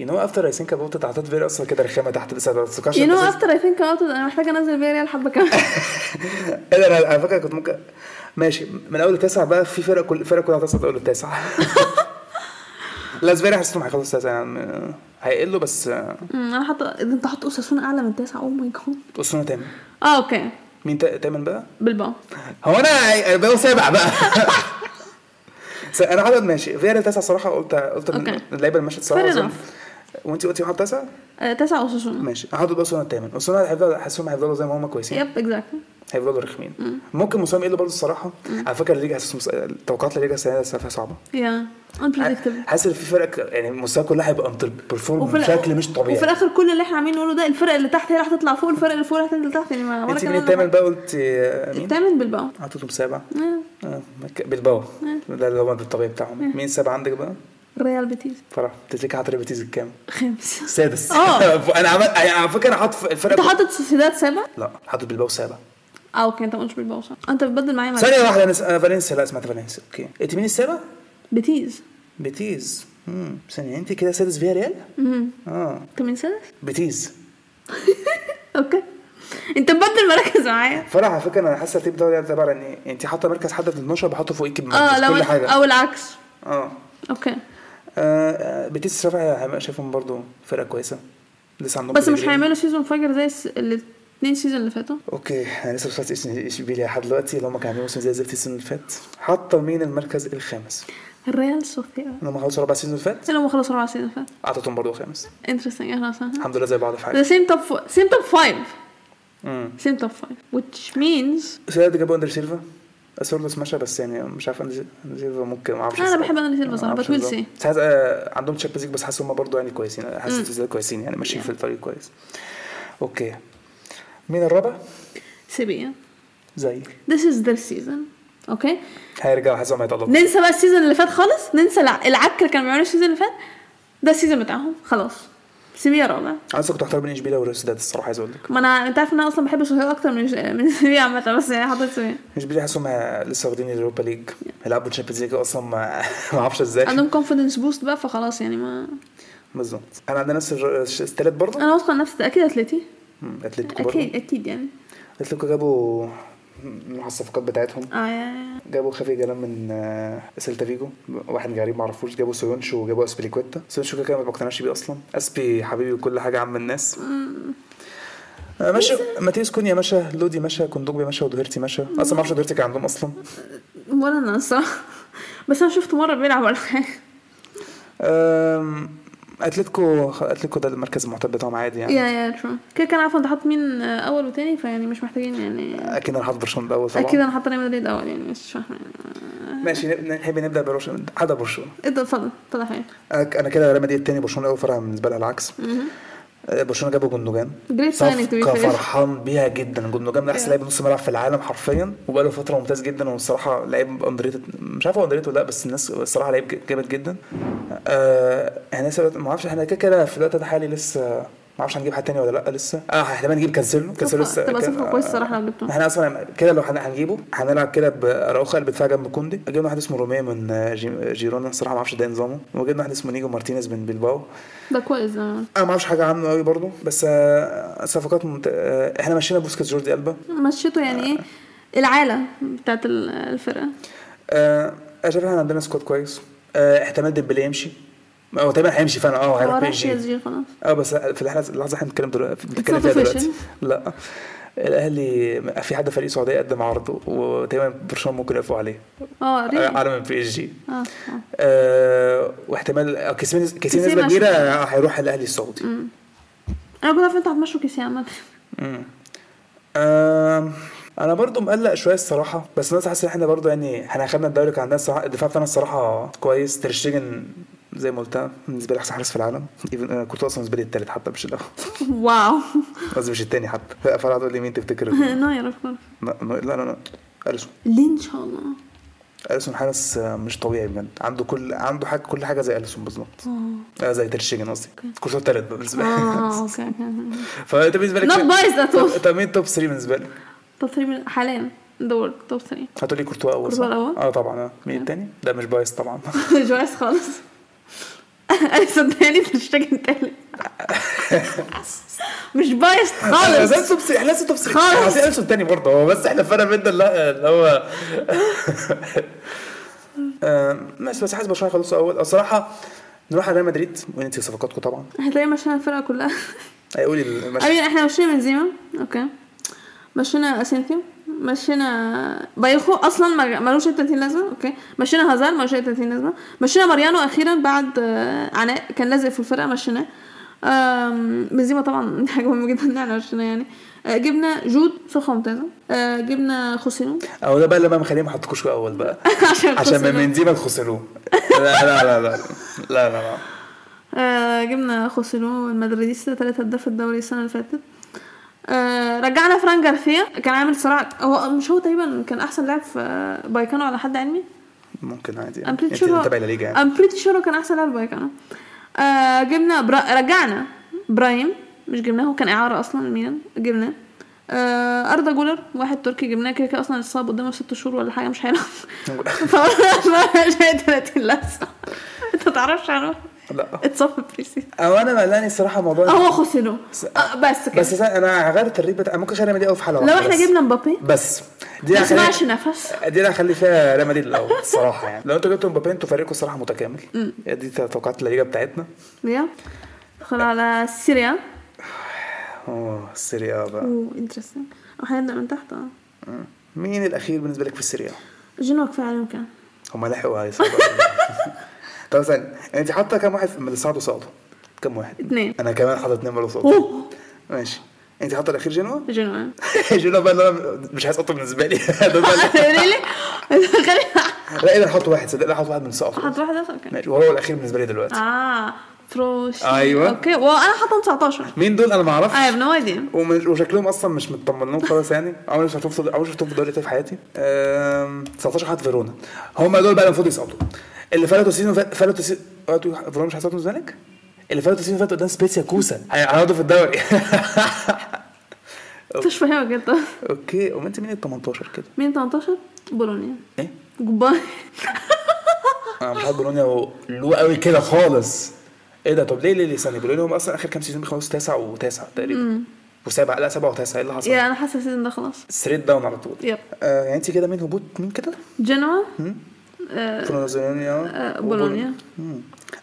Speaker 2: يو نو افتر اي ثينك ابوت حاطط فيري اصلا كده رخامه تحت لسه ما تسكرش
Speaker 1: يو نو
Speaker 2: البوزيشن.
Speaker 1: افتر اي ثينك اوت انا محتاجه انزل بيها ريال حبه كمان
Speaker 2: ايه ده انا على فكره كنت ممكن ماشي من اول التاسع بقى في فرق كل فرق كلها هتصعد اول التاسع لاس فيرا حسيتهم هيخلصوا التاسع يعني هيقلوا بس آه،
Speaker 1: أمم، انا حاطه إذا انت حاطط اساسون اعلى من oh تسعه او ماي جاد
Speaker 2: اسطوره تامن
Speaker 1: اه اوكي
Speaker 2: مين تا- تامن بقى؟
Speaker 1: بالباو
Speaker 2: هو انا بقى سابع بقى س- انا حاطط ماشي فيرا تاسع صراحه قلت قلت من
Speaker 1: أوكي.
Speaker 2: اللعيبه اللي مشت صراحه
Speaker 1: Fair
Speaker 2: أظن.
Speaker 1: enough.
Speaker 2: وانت قلتي حاطط تاسع
Speaker 1: آه، تسعه اساسون
Speaker 2: ماشي انا حاطط اسطوره التامن اسطوره هيفضل حاسسهم هيفضلوا زي ما هم كويسين
Speaker 1: يب اكزاكتلي
Speaker 2: هيفضلوا رخمين
Speaker 1: Mm.
Speaker 2: ممكن مستواهم يقل برضه الصراحه على فكره الليجا حاسس توقعات الليجا السنه دي السنة فيها صعبه
Speaker 1: يا unpredictable
Speaker 2: حاسس ان في فرق يعني مستوى كلها هيبقى بيرفورم
Speaker 1: وفي الآ-
Speaker 2: بشكل مش
Speaker 1: وفي
Speaker 2: طبيعي
Speaker 1: الاخر كل اللي احنا عاملين نقوله ده الفرق اللي تحت هي اللي هتطلع فوق الفرق اللي فوق اللي هتنزل تحت يعني ما ولا
Speaker 2: انت
Speaker 1: كلام ولا
Speaker 2: مين التامن
Speaker 1: حاجة.
Speaker 2: بقى قلت آه، مين؟
Speaker 1: التامن بالباو
Speaker 2: حطيتهم سابع
Speaker 1: آه،
Speaker 2: آه، مك- بالباو ده اللي هو الطبيعي بتاعهم مين السابع عندك بقى؟
Speaker 1: ريال بيتيز
Speaker 2: فرح تتلك حاطط ريبيتيز الكام؟
Speaker 1: خامس
Speaker 2: سادس
Speaker 1: آه.
Speaker 2: انا عملت أنا يعني على فكره انا حاطط الفرق
Speaker 1: انت حاطط سوسيداد سابع
Speaker 2: لا حاطط بالباو سابع
Speaker 1: اه اوكي انت ما قلتش بالباو صح انت بتبدل معايا مع
Speaker 2: ثانيه واحده انا س- أنا فالنسيا لا سمعت فالنسيا اوكي انت مين السابع؟
Speaker 1: بيتيز
Speaker 2: بيتيز امم ثانيه انت كده سادس فيا ريال؟
Speaker 1: امم
Speaker 2: اه
Speaker 1: انت من سادس
Speaker 2: بيتيز
Speaker 1: اوكي انت مبدل مراكز معايا
Speaker 2: فرح على فكره انا حاسه الترتيب ده ده عباره عن ايه؟ انت حاطه مركز حد في 12 بحطه فوقيكي
Speaker 1: اه
Speaker 2: بمركز
Speaker 1: لو
Speaker 2: كل حاجه
Speaker 1: او العكس
Speaker 2: اه
Speaker 1: اوكي
Speaker 2: آه، بيتيس رفع هيبقى شايفهم برضو فرقه كويسه لسه عندهم
Speaker 1: بس مش
Speaker 2: بيليجريني.
Speaker 1: هيعملوا سيزون فجر زي الس- الاثنين سيزون اللي فاتوا
Speaker 2: اوكي انا لسه وصلت ايش ايش بيلي لحد دلوقتي اللي هم كانوا عاملين موسم زي زفت السنه اللي فات حاطه مين المركز الخامس؟
Speaker 1: الريال سوسيداد
Speaker 2: لما خلصوا ربع سيزون اللي فات
Speaker 1: لو ما خلصوا ربع سيزون فات
Speaker 2: اعطتهم برضو خامس
Speaker 1: انترستنج احنا صح
Speaker 2: الحمد لله زي بعض في حاجه
Speaker 1: The same top four, same top five,
Speaker 2: امم
Speaker 1: same top five, which means
Speaker 2: سيدات جابوا اندر سيلفا اسورلوس مشى بس يعني مش عارف اندر أندر سيلفا ممكن ما اعرفش
Speaker 1: أنا
Speaker 2: إزاي.
Speaker 1: بحب أندر سيلفا صراحة،
Speaker 2: معرفش
Speaker 1: but we'll
Speaker 2: إزاي.
Speaker 1: see.
Speaker 2: بس حاسس آه، عندهم تشامبيونز ليج بس حاسس هم برضو يعني كويسين حاسس السيزون كويسين يعني ماشيين في الطريق كويس اوكي مين الرابع؟
Speaker 1: سيبيا.
Speaker 2: زي
Speaker 1: This is their season. اوكي
Speaker 2: هيرجعوا حاسسهم هيتقلبوا
Speaker 1: ننسى بقى السيزون اللي فات خالص ننسى الع- العك اللي كانوا بيعملوا السيزون اللي فات ده السيزون بتاعهم خلاص سيبيا رابع
Speaker 2: انا لسه كنت محتار بين اشبيليه والسداد الصراحه عايز اقول لك
Speaker 1: ما انا انت عارف ان انا اصلا بحب سوسيداد اكتر من من سيبيا عامه بس يعني حطيت سيبيا
Speaker 2: اشبيليه حاسسهم ه- لسه واخدين اليوروبا ليج هيلعبوا تشامبيونز ليج اصلا ما ما اعرفش ازاي
Speaker 1: عندهم confidence boost بقى فخلاص يعني ما
Speaker 2: بالظبط انا عندنا نفس الر- الش- التالت برضه
Speaker 1: انا واثقه نفسي اكيد اتلتي
Speaker 2: مم، اتلتيكو برضه
Speaker 1: اكيد اكيد يعني
Speaker 2: اتلتيكو جابوا مم، مع الصفقات بتاعتهم
Speaker 1: اه يعني
Speaker 2: جابوا خافي جلال من آه، سيلتا فيجو واحد غريب ما اعرفوش جابوا سويونشو وجابوا اسبليكويتا سويونشو كده كده ما بقتنعش بيه اصلا اسبي حبيبي وكل حاجه عم الناس آه، ماشي ماتيوس كونيا مشى لودي مشى كوندوجبي مشى ودوهيرتي مشى اصلا ما اعرفش دوهيرتي كان عندهم اصلا
Speaker 1: ولا انا الصراحه بس انا شفته مره بيلعب ولا حاجه
Speaker 2: آم، اتلتيكو اتلتيكو ده المركز المعتاد بتاعهم عادي يعني
Speaker 1: يا يا ترو كده كان عارفه انت حاطط مين آه، اول وتاني فيعني مش محتاجين يعني
Speaker 2: اكيد انا حاطط برشلونه الاول طبعا
Speaker 1: اكيد انا حاطه ريال مدريد اول يعني مش فاهمه يعني.
Speaker 2: ماشي نب- نحب نبدا برشلونه حدا برشلونه
Speaker 1: اتفضل اتفضل اتفضل يا حبيبي
Speaker 2: أك- انا كده ريال مدريد التاني برشلونه الاول فرقه بالنسبه لها العكس آه، برشلونه جابوا جندوجان
Speaker 1: Great signing to be
Speaker 2: صفقه
Speaker 1: fair.
Speaker 2: فرحان بيها جدا جندوجان من احسن لاعب نص ملعب في العالم حرفيا وبقاله فتره ممتاز جدا والصراحه لعيب اندريتد مش عارف هو اندريتد ولا لا بس الناس الصراحه لعيب ج- جامد جدا آه احنا لسه دلوقتي- ما اعرفش احنا كده كده في الوقت ده حالي لسه ما اعرفش هنجيب حد تاني ولا لا لسه اه احتمال نجيب كانسيلو كانسيلو لسه
Speaker 1: تبقى
Speaker 2: كان-
Speaker 1: صفقه كويسه الصراحه لو جبته
Speaker 2: احنا اصلا كده لو هن- هنجيبه هنلعب كده باراوخا قلب دفاع جنب كوندي جبنا واحد اسمه روميه من آه، جي- جيرونا الصراحه ما اعرفش ده نظامه وجبنا واحد اسمه نيجو مارتينيز من بيلباو
Speaker 1: ده كويس ده
Speaker 2: انا ما اعرفش حاجه عنه قوي برضه بس آه، صفقات ممت... آه، احنا مشينا بوسكيتس جوردي البا
Speaker 1: مشيته يعني ايه العاله بتاعت ال- الفرقه
Speaker 2: آه، انا شايف احنا عندنا سكواد كويس آه، احتمال ديمبلي يمشي هو تقريبا هيمشي فعلا اه
Speaker 1: هو
Speaker 2: هيروح بي
Speaker 1: راح
Speaker 2: إس جي
Speaker 1: PSG خلاص
Speaker 2: اه بس في اللحظه اللحظه احنا بنتكلم دلوقتي بنتكلم فيها
Speaker 1: not official.
Speaker 2: دلوقتي لا الاهلي في حد فريق سعودي قدم عرض وتقريبا برشلونه ممكن يقفوا عليه
Speaker 1: اه
Speaker 2: آه،
Speaker 1: ريال
Speaker 2: على من بي اس جي
Speaker 1: اه
Speaker 2: آه، واحتمال آه، كيسين كيسين
Speaker 1: كيسين
Speaker 2: نسبه
Speaker 1: عشان-
Speaker 2: كبيره هيروح الاهلي السعودي
Speaker 1: انا كنت عارفه انت هتمشوا كيسي عامه
Speaker 2: مم. آم، انا برضو مقلق شويه الصراحه بس انا حاسس ان احنا برضو يعني احنا خدنا الدوري كان عندنا الصراحه الدفاع بتاعنا الصراحه كويس ترشتجن زي ما قلت بالنسبه لي احسن حارس في العالم Even- آه، كورتوا اصلا بالنسبه لي التالت حتى مش الاول
Speaker 1: واو
Speaker 2: قصدي مش التاني حتى فرح تقول لي مين تفتكر
Speaker 1: ناير اوف كورس
Speaker 2: لا لا لا, لا. أليسون
Speaker 1: ليه ان شاء الله
Speaker 2: اليسون حارس آه، مش طبيعي بجد عنده كل عنده حاجه كل حاجه زي اليسون بالظبط آه، زي ترشيجن قصدي كورسور تالت بقى بالنسبه لي
Speaker 1: اه اوكي اوكي
Speaker 2: فانت بالنسبه لك
Speaker 1: Not biased at all.
Speaker 2: طب- طب مين توب 3 بالنسبه لك؟
Speaker 1: توب 3 من- حاليا دول توب 3
Speaker 2: هتقولي كورتوا اول صح؟
Speaker 1: كورتوا الأول.
Speaker 2: اه طبعا آه. مين التاني؟ ده مش بايظ طبعا
Speaker 1: مش بايظ خالص اليسون تاني تشتكي تالت مش بايظ
Speaker 2: احنا
Speaker 1: خالص
Speaker 2: لازم توب 3 احنا لازم توب 3
Speaker 1: خالص.
Speaker 2: خالص لازم تاني برضه هو بس احنا فرق بينا اللي اللي هو آم، ماشي بس حاسس برشلونه خلصوا اول الصراحه نروح على ريال مدريد وننسي صفقاتكم طبعا
Speaker 1: هتلاقي مشينا الفرقه كلها
Speaker 2: هيقولي المشهد
Speaker 1: امين احنا مشينا بنزيما اوكي مشينا اسينسيو مشينا بايخو اصلا ما- ملوش اي 30 لازمه اوكي مشينا هازار ملوش اي 30 لازمه مشينا ماريانو اخيرا بعد آه، عناء كان لازق في الفرقه مشيناه آم، بنزيما طبعا دي حاجه مهمه جدا ان احنا مشيناه يعني آه، جبنا جود صفقه ممتازه آه، جبنا خوسينو
Speaker 2: او ده بقى اللي بقى مخليه ما حطكوش في اول بقى
Speaker 1: عشان
Speaker 2: عشان من
Speaker 1: خوسيلو.
Speaker 2: بنزيما تخسروه لا لا لا لا لا لا لا
Speaker 1: آه، جبنا خوسيلو المدريديستا تلات هداف الدوري السنة اللي فاتت آه، رجعنا فران جارسيا كان عامل صراع هو مش هو تقريبا كان احسن لاعب في آه، بايكانو على حد علمي
Speaker 2: ممكن عادي
Speaker 1: ام
Speaker 2: يعني.
Speaker 1: بريتي
Speaker 2: انت
Speaker 1: شور
Speaker 2: تابع الليجا يعني
Speaker 1: ام بريتي شور كان احسن لاعب في بايكانو آه، جبنا برا... رجعنا برايم مش جبناه هو كان اعاره اصلا ميلان جبناه آه، اردا جولر واحد تركي جبناه كده كده اصلا اتصاب قدامه ست شهور ولا حاجه مش هيلعب فمش هي 30 لازمه انت تعرفش عنه
Speaker 2: لا
Speaker 1: اتصاب في بريسي
Speaker 2: او انا مقلقني الصراحه موضوع
Speaker 1: هو خوسيلو
Speaker 2: س-
Speaker 1: آه، بس كده
Speaker 2: بس انا هغير التدريب بتاع ممكن خلينا مدريد قوي في حلقه
Speaker 1: لو
Speaker 2: واحدة
Speaker 1: احنا
Speaker 2: بس.
Speaker 1: جبنا مبابي
Speaker 2: بس دي
Speaker 1: ما
Speaker 2: هخلي-
Speaker 1: سمعش نفس
Speaker 2: دي انا هخلي فيها ريال مدريد الاول الصراحه يعني لو انتوا جبتوا مبابي انتوا فريقكم الصراحه متكامل دي توقعات الليجا بتاعتنا
Speaker 1: يا ندخل على سيريا
Speaker 2: اه السيريا بقى
Speaker 1: اوه انترستنج احنا هنبدا من تحت اه
Speaker 2: مم. مين الاخير بالنسبه لك في السيريا
Speaker 1: جنوا كفايه عليهم كان
Speaker 2: هم لحقوا هاي صعبة. طب استنى انت حاطه كام واحد من اللي صعدوا صعدوا كام واحد
Speaker 1: اتنين
Speaker 2: انا كمان حاطط اثنين برضه صعدوا
Speaker 1: اوه
Speaker 2: ماشي انت حاطه الاخير جنوا
Speaker 1: جنوا آه.
Speaker 2: جنوا بقى اللي انا مش عايز احطه بالنسبه لي دول بقى اللي-
Speaker 1: ريلي
Speaker 2: لا ايه ده احط واحد صدق لا احط واحد من الصعب
Speaker 1: حط واحد بس اوكي
Speaker 2: ماشي وهو الاخير بالنسبه لي دلوقتي
Speaker 1: اه فروش
Speaker 2: أيوة.
Speaker 1: اوكي وانا حاطه 19
Speaker 2: مين دول انا ما اعرفش
Speaker 1: اي نو ايديا
Speaker 2: ومش وشكلهم اصلا مش مطمنين خالص يعني عمري مش هشوف عمري شفتهم في الدوري الإيطالي في حياتي أم، 19 حد فيرونا هم دول بقى المفروض يصعدوا اللي فلتوا سيزون فات- فلتوا سيزون فلتوا- فيرونا مش هيصعدوا زمالك اللي فلتوا سيزون فات قدام سبيسيا كوسا هيقعدوا في الدوري
Speaker 1: مش فاهمه جدا
Speaker 2: اوكي امال انت مين ال 18 كده؟
Speaker 1: مين 18 بولونيا
Speaker 2: ايه؟
Speaker 1: جوباي
Speaker 2: انا مش عارف بولونيا له قوي كده خالص ايه ده طب ليه ليه ليه ثانيه بولونيا هم اصلا اخر كام سيزون بيخلصوا تاسع وتاسع تقريبا وسابع لا سبعة وتاسع ايه اللي حصل؟
Speaker 1: يا انا حاسه السيزون ده خلاص
Speaker 2: ستريت داون على طول
Speaker 1: يب
Speaker 2: آه يعني انت كده مين هبوط مين كده؟
Speaker 1: جنوا
Speaker 2: هم؟
Speaker 1: آه،
Speaker 2: فرنزانيا آه
Speaker 1: بولونيا.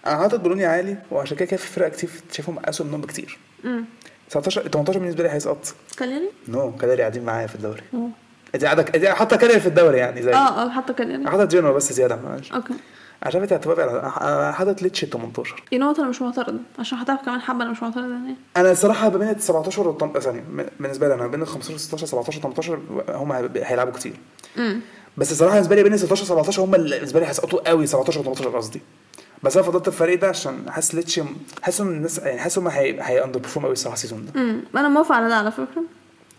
Speaker 2: انا حاطط بولونيا عالي وعشان كده كده في فرق كتير شايفهم اسوء منهم بكتير
Speaker 1: امم
Speaker 2: 19 18 بالنسبه لي هيسقط
Speaker 1: كاليري
Speaker 2: نو no. كاليري قاعدين معايا في الدوري
Speaker 1: أوه.
Speaker 2: ادي قاعده ادي حاطه كاليري في الدوري يعني زي
Speaker 1: اه اه حاطه كاليري
Speaker 2: حاطط جينو بس زياده معلش
Speaker 1: اوكي
Speaker 2: عشان انت هتبقى أنا- انا حاطط ليتش 18
Speaker 1: يو نو انا مش معترضه عشان هتعرف كمان حبه انا مش معترضه يعني
Speaker 2: انا الصراحه ما بين ال 17 والتم... ثانيه بالنسبه لي انا ما بين ال 15 16 17 18 هم هيب- هيلعبوا كتير
Speaker 1: امم
Speaker 2: بس الصراحه بالنسبه لي بين ال 16 17 هم اللي بالنسبه لي هيسقطوا قوي 17 و18 قصدي بس انا فضلت الفريق ده عشان حاسس ليتش حاسس ان الناس يعني حاسس هم هي هي اندر بيرفورم قوي الصراحه السيزون ده
Speaker 1: امم انا موافقه على ده على فكره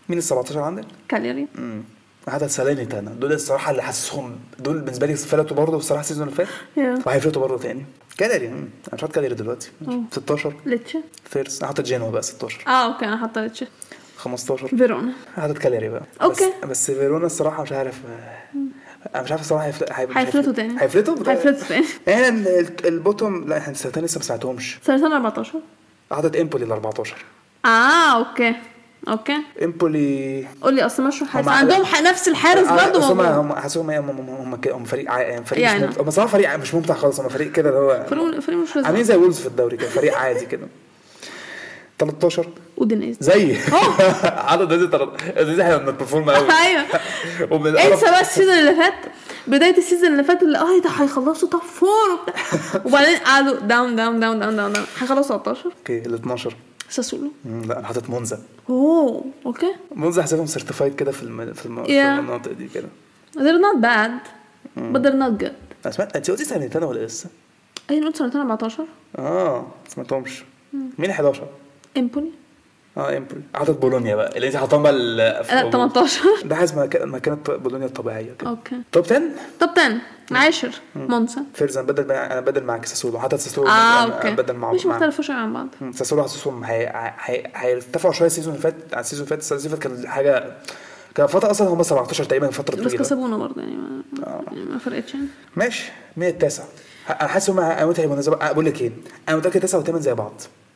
Speaker 2: مين ال 17 عندك؟
Speaker 1: كاليري
Speaker 2: امم هذا سالاني انا دول الصراحه اللي حاسسهم دول بالنسبه لي فلتوا برضه الصراحه السيزون اللي
Speaker 1: يا.
Speaker 2: فات وهيفلتوا برضه تاني كاليري مم. انا مش حاطط كاليري دلوقتي ماشي.
Speaker 1: أوه.
Speaker 2: 16
Speaker 1: ليتشه
Speaker 2: فيرس انا حاطط جينوا بقى 16
Speaker 1: اه اوكي انا حاطه ليتشه
Speaker 2: 15
Speaker 1: فيرونا
Speaker 2: حاطط كاليري يعني بقى
Speaker 1: أوكي.
Speaker 2: بس, بس فيرونا الصراحه مش عارف انا مش عارف الصراحه هيفل- هيب- مش
Speaker 1: هيفلتوا
Speaker 2: هيفل-
Speaker 1: تاني.
Speaker 2: هيفلتوا
Speaker 1: هيفلتوا تاني
Speaker 2: احنا ال- البوتوم لا احنا السنتين لسه ما سمعتهمش
Speaker 1: سنه 14
Speaker 2: حاطط امبولي ال 14
Speaker 1: اه اوكي اوكي
Speaker 2: امبولي
Speaker 1: قول لي اصل مشوا حارس
Speaker 2: هم-
Speaker 1: عندهم ح- نفس الحارس
Speaker 2: آه،
Speaker 1: برضه
Speaker 2: بس هم
Speaker 1: موجود
Speaker 2: هم حاسسهم هم هم هم كده هم فريق عا- يعني فريق
Speaker 1: يعني.
Speaker 2: مش ممتع هم صراحه فريق مش ممتع خالص هم فريق كده اللي هو
Speaker 1: فريق فريق مش
Speaker 2: عاملين
Speaker 1: لازم
Speaker 2: زي وولز في الدوري كده فريق عادي كده 13
Speaker 1: ودينيز
Speaker 2: زي عدد نادي 13 دي احنا بنبرفورم قوي
Speaker 1: ايوه
Speaker 2: ومن
Speaker 1: انسى بقى السيزون اللي فات بدايه السيزون اللي فات اللي اه ده هيخلصوا توب فور وبتاع. وبعدين قعدوا داون داون داون داون داون داون هيخلصوا 13
Speaker 2: اوكي ال 12
Speaker 1: ساسولو
Speaker 2: مم، لا انا حاطط مونزا
Speaker 1: اوه اوكي
Speaker 2: مونزا حسابهم سيرتيفايد كده في الم... في, الم...
Speaker 1: Yeah.
Speaker 2: في المناطق دي كده
Speaker 1: they're not bad but they're not good
Speaker 2: أنا سمعت انت قلتي سنتين ولا لسه؟
Speaker 1: اي نقول سنة 14
Speaker 2: اه ما سمعتهمش مين 11
Speaker 1: امبولي
Speaker 2: اه امبول عدد بولونيا بقى اللي انت حاطاهم بقى ال- في
Speaker 1: لا
Speaker 2: الهبوط.
Speaker 1: 18
Speaker 2: ده عايز مكان مكانة بولونيا الطبيعية كده
Speaker 1: اوكي
Speaker 2: توب 10
Speaker 1: طب 10 عاشر مونسا
Speaker 2: فيرز انا بدل انا بدل معاك ساسولو حتى ساسولو
Speaker 1: اه
Speaker 2: أنا
Speaker 1: اوكي
Speaker 2: بدل مع
Speaker 1: مش
Speaker 2: مع-
Speaker 1: مختلفة شوية عن بعض
Speaker 2: مم، ساسولو حاسسهم هي- هي- هيرتفعوا شويه السيزون اللي فات عن السيزون اللي فات السيزون اللي فات كان حاجه كان فتره اصلا هم 17 تقريبا فتره
Speaker 1: بس
Speaker 2: طويله
Speaker 1: كسبونا برضه يعني ما, يعني ما فرقتش يعني
Speaker 2: ماشي 100 التاسع ه- انا حاسس هم انا متهيألي بالنسبه أه، بقول لك ايه انا متاكد 9 و8 زي بعض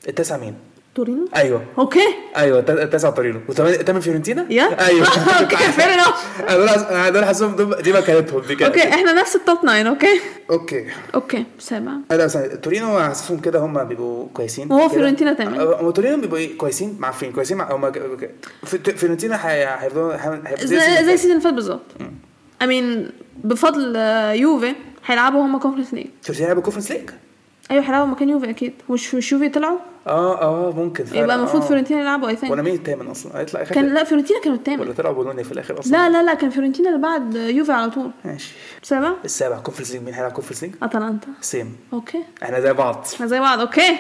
Speaker 2: التاسع مين؟
Speaker 1: تورينو
Speaker 2: ايوه
Speaker 1: اوكي
Speaker 2: ايوه الت- التاسع تورينو و8 فيورنتينا؟
Speaker 1: يا
Speaker 2: ايوه
Speaker 1: اوكي fair enough.
Speaker 2: انا دول حاس- أنا دول حاسسهم دول- دي مكانتهم دي كانت
Speaker 1: اوكي احنا نفس التوب 9 اوكي
Speaker 2: اوكي
Speaker 1: اوكي سابع
Speaker 2: لا بس تورينو حاسسهم كده هم بيبقوا كويسين
Speaker 1: وهو
Speaker 2: كده.
Speaker 1: فيورنتينا تمام.
Speaker 2: أه، هم تورينو بيبقوا إيه؟ كويسين معفين كويسين مع هم فيورنتينا هي- هيفضلوا هيفضلوا
Speaker 1: زي زي السيزون اللي فات بالظبط امين بفضل آه، يوفي هيلعبوا هما كونفرنس ليج
Speaker 2: فيورنتينا هيلعبوا كونفرنس ليج
Speaker 1: ايوه هيلعبوا مكان يوفي اكيد وش مش يوفي طلعوا
Speaker 2: اه اه ممكن فعلا،
Speaker 1: يبقى المفروض
Speaker 2: آه.
Speaker 1: فيورنتينا يلعبوا اي
Speaker 2: وانا
Speaker 1: ثينك
Speaker 2: مين التامن اصلا هيطلع اخر
Speaker 1: كان لا فيورنتينا كانوا الثامن
Speaker 2: ولا طلع بولونيا في الاخر اصلا
Speaker 1: لا لا لا كان فيورنتينا اللي بعد يوفي على طول
Speaker 2: ماشي
Speaker 1: سابع
Speaker 2: السابع كونفرنس ليج مين هيلعب كونفرنس ليج؟
Speaker 1: اتلانتا
Speaker 2: سيم
Speaker 1: اوكي
Speaker 2: احنا زي بعض
Speaker 1: احنا زي بعض اوكي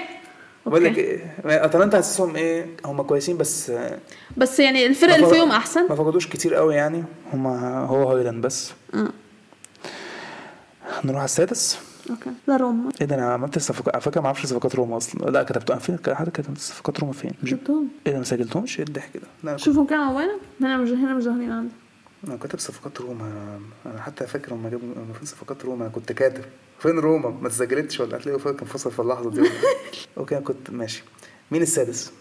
Speaker 2: بقول لك
Speaker 1: أوكي.
Speaker 2: إيه، اتلانتا حاسسهم ايه هم كويسين بس آه،
Speaker 1: بس يعني الفرق
Speaker 2: ما
Speaker 1: اللي
Speaker 2: فق-
Speaker 1: فيهم احسن
Speaker 2: ما فقدوش كتير قوي يعني هم هو هايلاند بس
Speaker 1: مم.
Speaker 2: نروح على السادس
Speaker 1: اوكي لا روما
Speaker 2: ايه ده انا عملت الصفقات على فكره ما اعرفش صفقات روما اصلا لا كتبتهم فين حد كتبت صفقات روما فين مش-
Speaker 1: شفتهم
Speaker 2: ايه ده ما سجلتهمش ايه الضحك ده لا، انا كنت-
Speaker 1: شوفهم كان على موبايلك هنا مش هنا مش ظاهرين عندي
Speaker 2: انا كاتب صفقات روما انا حتى فاكر لما جابوا أنا فين صفقات روما انا كنت كاتب فين روما ما اتسجلتش ولا هتلاقيه فاكر كان فصل في اللحظه دي اوكي انا كنت ماشي مين السادس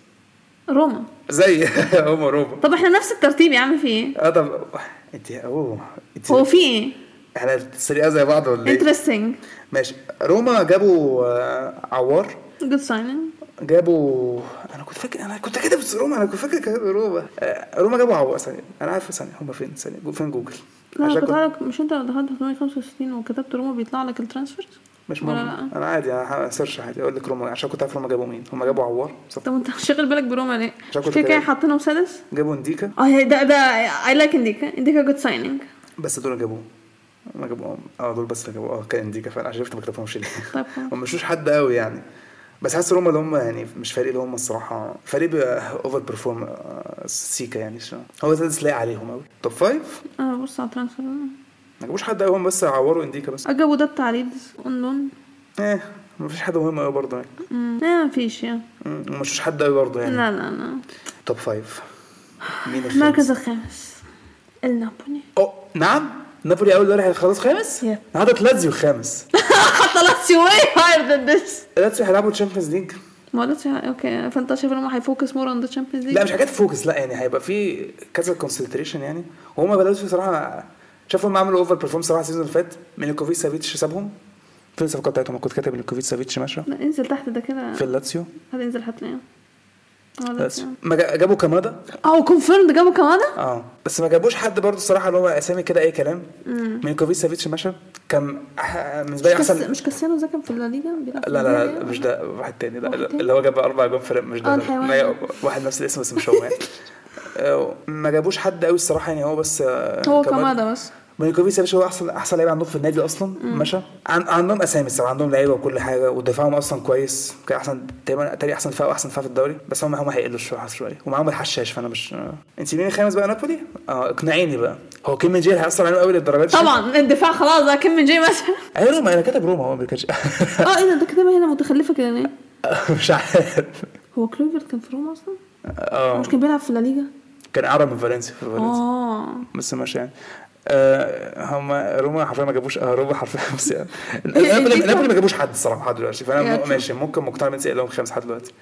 Speaker 1: روما
Speaker 2: زي هم روما
Speaker 1: طب احنا نفس الترتيب يا عم في ايه
Speaker 2: اه طب انت اوه انت
Speaker 1: هو في ايه
Speaker 2: إيه؟ احنا السريعه زي بعض ولا ايه؟
Speaker 1: انترستنج
Speaker 2: ماشي روما جابوا آه، عوار
Speaker 1: جود ساينينج
Speaker 2: جابوا انا كنت فاكر انا كنت كاتب روما انا كنت فاكر كاتب روما آه، روما جابوا عوار ثانيه انا عارف ثانيه هم فين ثانيه جو- فين جوجل
Speaker 1: لا
Speaker 2: عشان
Speaker 1: انا
Speaker 2: كنت-
Speaker 1: كنت عارف مش انت لو دخلت 865 وكتبت روما بيطلع لك الترانسفيرز
Speaker 2: مش
Speaker 1: ولا
Speaker 2: مهم
Speaker 1: لا؟
Speaker 2: انا عادي انا هسيرش عادي اقول لك روما عشان كنت عارف روما جابوا مين هم جابوا عوار صف-
Speaker 1: طب انت شاغل بالك بروما ليه؟
Speaker 2: شكله
Speaker 1: مش كده كده
Speaker 2: كده.
Speaker 1: حاطينهم سادس
Speaker 2: جابوا انديكا
Speaker 1: اه ده ده اي لايك انديكا انديكا جود ساينينج
Speaker 2: بس دول جابوه ما جابوهم اه دول بس اللي جابوه اه كان انديكا فعلا عشان شفت ما كتبهمش ليه
Speaker 1: طيب خلاص.
Speaker 2: هم مشوش حد قوي يعني بس حاسس روما اللي هم يعني مش فريق اللي هم الصراحه فريق اوفر بيرفورم سيكا يعني شو. هو سادس لاقي عليهم قوي توب فايف
Speaker 1: انا ببص اه على الترانسفير
Speaker 2: ما جابوش حد قوي هم بس عوروا انديكا بس
Speaker 1: اجابوا ده بتاع ليدز اونلون
Speaker 2: ايه ما فيش حد مهم قوي برضه يعني
Speaker 1: امم لا مفيش يعني
Speaker 2: مم، وما مشوش حد قوي برضه يعني
Speaker 1: لا لا لا
Speaker 2: توب فايف مين الخامس؟
Speaker 1: المركز الخامس النابولي
Speaker 2: أو نعم نابولي اول دوري هيخلص خامس
Speaker 1: Yeah.
Speaker 2: عدد لاتزيو خامس
Speaker 1: حط لاتسيو واي هاير ذان ذس
Speaker 2: لاتزيو هيلعبوا تشامبيونز ليج
Speaker 1: ما قلتش اوكي فانت شايف ان هم هيفوكس مور اون ذا تشامبيونز ليج
Speaker 2: لا مش حاجات فوكس لا يعني هيبقى في كذا كونسنتريشن يعني وهما بلاتزيو صراحه شافوا هم عملوا اوفر بيرفورم صراحه السيزون اللي فات ميلكوفيتش سافيتش سابهم فين الصفقات بتاعتهم كنت كاتب ميلكوفيتش سافيتش ماشيه
Speaker 1: لا انزل تحت ده كده
Speaker 2: في اللاتسيو
Speaker 1: هتنزل يعني. هتلاقيه هو
Speaker 2: بس
Speaker 1: لاتسيو.
Speaker 2: ما جا- جابوا كمادا
Speaker 1: يعني. اه كونفيرمد جابوا كمان
Speaker 2: اه بس ما جابوش حد برضه الصراحه اللي هو اسامي كده اي كلام ميلكوفيتش سافيتش ماشي كان أح- بالنسبه لي
Speaker 1: مش, كاس...
Speaker 2: احسن
Speaker 1: مش كاسيانو ده كان في الليجا بيلعب في
Speaker 2: لا لا لا
Speaker 1: الليجا؟
Speaker 2: مش ده واحد تاني ده
Speaker 1: واحد تاني؟
Speaker 2: اللي هو جاب اربع جون فرق مش
Speaker 1: آه،
Speaker 2: ده, ده.
Speaker 1: الحيوان.
Speaker 2: ما واحد نفس الاسم بس مش هو يعني آه، ما جابوش حد قوي الصراحه يعني هو بس آه،
Speaker 1: هو
Speaker 2: كمان-
Speaker 1: كمادة بس
Speaker 2: ميلكوفيتش يا باشا هو احسن احسن لعيب عندهم في النادي اصلا ماشي عن... عندهم اسامي الصراحه عندهم لعيبه وكل حاجه ودفاعهم اصلا كويس كان احسن تقريبا تاني احسن دفاع واحسن دفاع في الدوري بس هم هم هيقلوا شويه شويه ومعاهم الحشاش فانا مش آه. انت مين الخامس بقى نابولي؟ اه اقنعيني بقى هو كيم من جيل هيأثر عليهم قوي للدرجه دي
Speaker 1: طبعا الدفاع خلاص ده كم من جاي مثلا
Speaker 2: ايوه روما انا كاتب روما هو ما كانش
Speaker 1: اه ايه ده ده كده هنا متخلفه كده ليه؟
Speaker 2: مش عارف
Speaker 1: هو كلوفرت كان في روما اصلا؟
Speaker 2: اه
Speaker 1: مش كان بيلعب في ليجا؟
Speaker 2: كان اعرض من فالنسيا في فالنسيا
Speaker 1: اه
Speaker 2: بس ماشي يعني آه هم روما حرفيا ما جابوش آه روما حرفيا بس يعني
Speaker 1: إيه،
Speaker 2: نابولي
Speaker 1: إيه،
Speaker 2: نابولي ما جابوش حد الصراحه لحد دلوقتي
Speaker 1: يا
Speaker 2: فانا
Speaker 1: تشوف.
Speaker 2: ماشي ممكن مقتنع من لهم خمس حد دلوقتي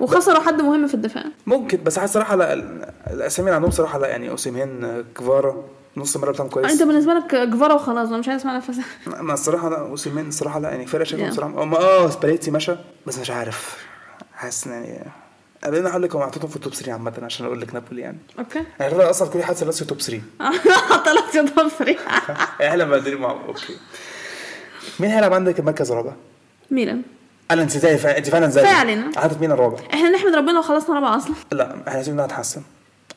Speaker 1: وخسروا حد مهم في الدفاع
Speaker 2: ممكن بس حاسس صراحه لا ال- الاسامي اللي عندهم صراحه لا يعني اوسيمين آه، كفارا نص الملعب بتاعهم
Speaker 1: آه، انت
Speaker 2: كويس
Speaker 1: بالنسبه لك جفارة وخلاص انا مش عايز اسمع نفسك
Speaker 2: ما الصراحه لا اوسيمين الصراحه لا يعني فرق شكلهم
Speaker 1: Yeah.
Speaker 2: صراحه هم اه سباليتي مشى بس مش عارف حاسس إن يعني قبل ما اقول لك هم حطيتهم في التوب 3 عامه عشان اقول لك نابولي يعني
Speaker 1: اوكي
Speaker 2: انا غير اصلا كل حد لاسيو توب 3
Speaker 1: طلعت يا ضفري
Speaker 2: اهلا بدري مع اوكي مين هيلعب عندك المركز الرابع؟ إيه،
Speaker 1: ميلان
Speaker 2: انا انت زي فعلا انت فعلا زي
Speaker 1: فعلا.
Speaker 2: حاطط مين الرابع؟
Speaker 1: احنا نحمد ربنا لو خلصنا رابعه اصلا
Speaker 2: لا احنا لازم نتحسن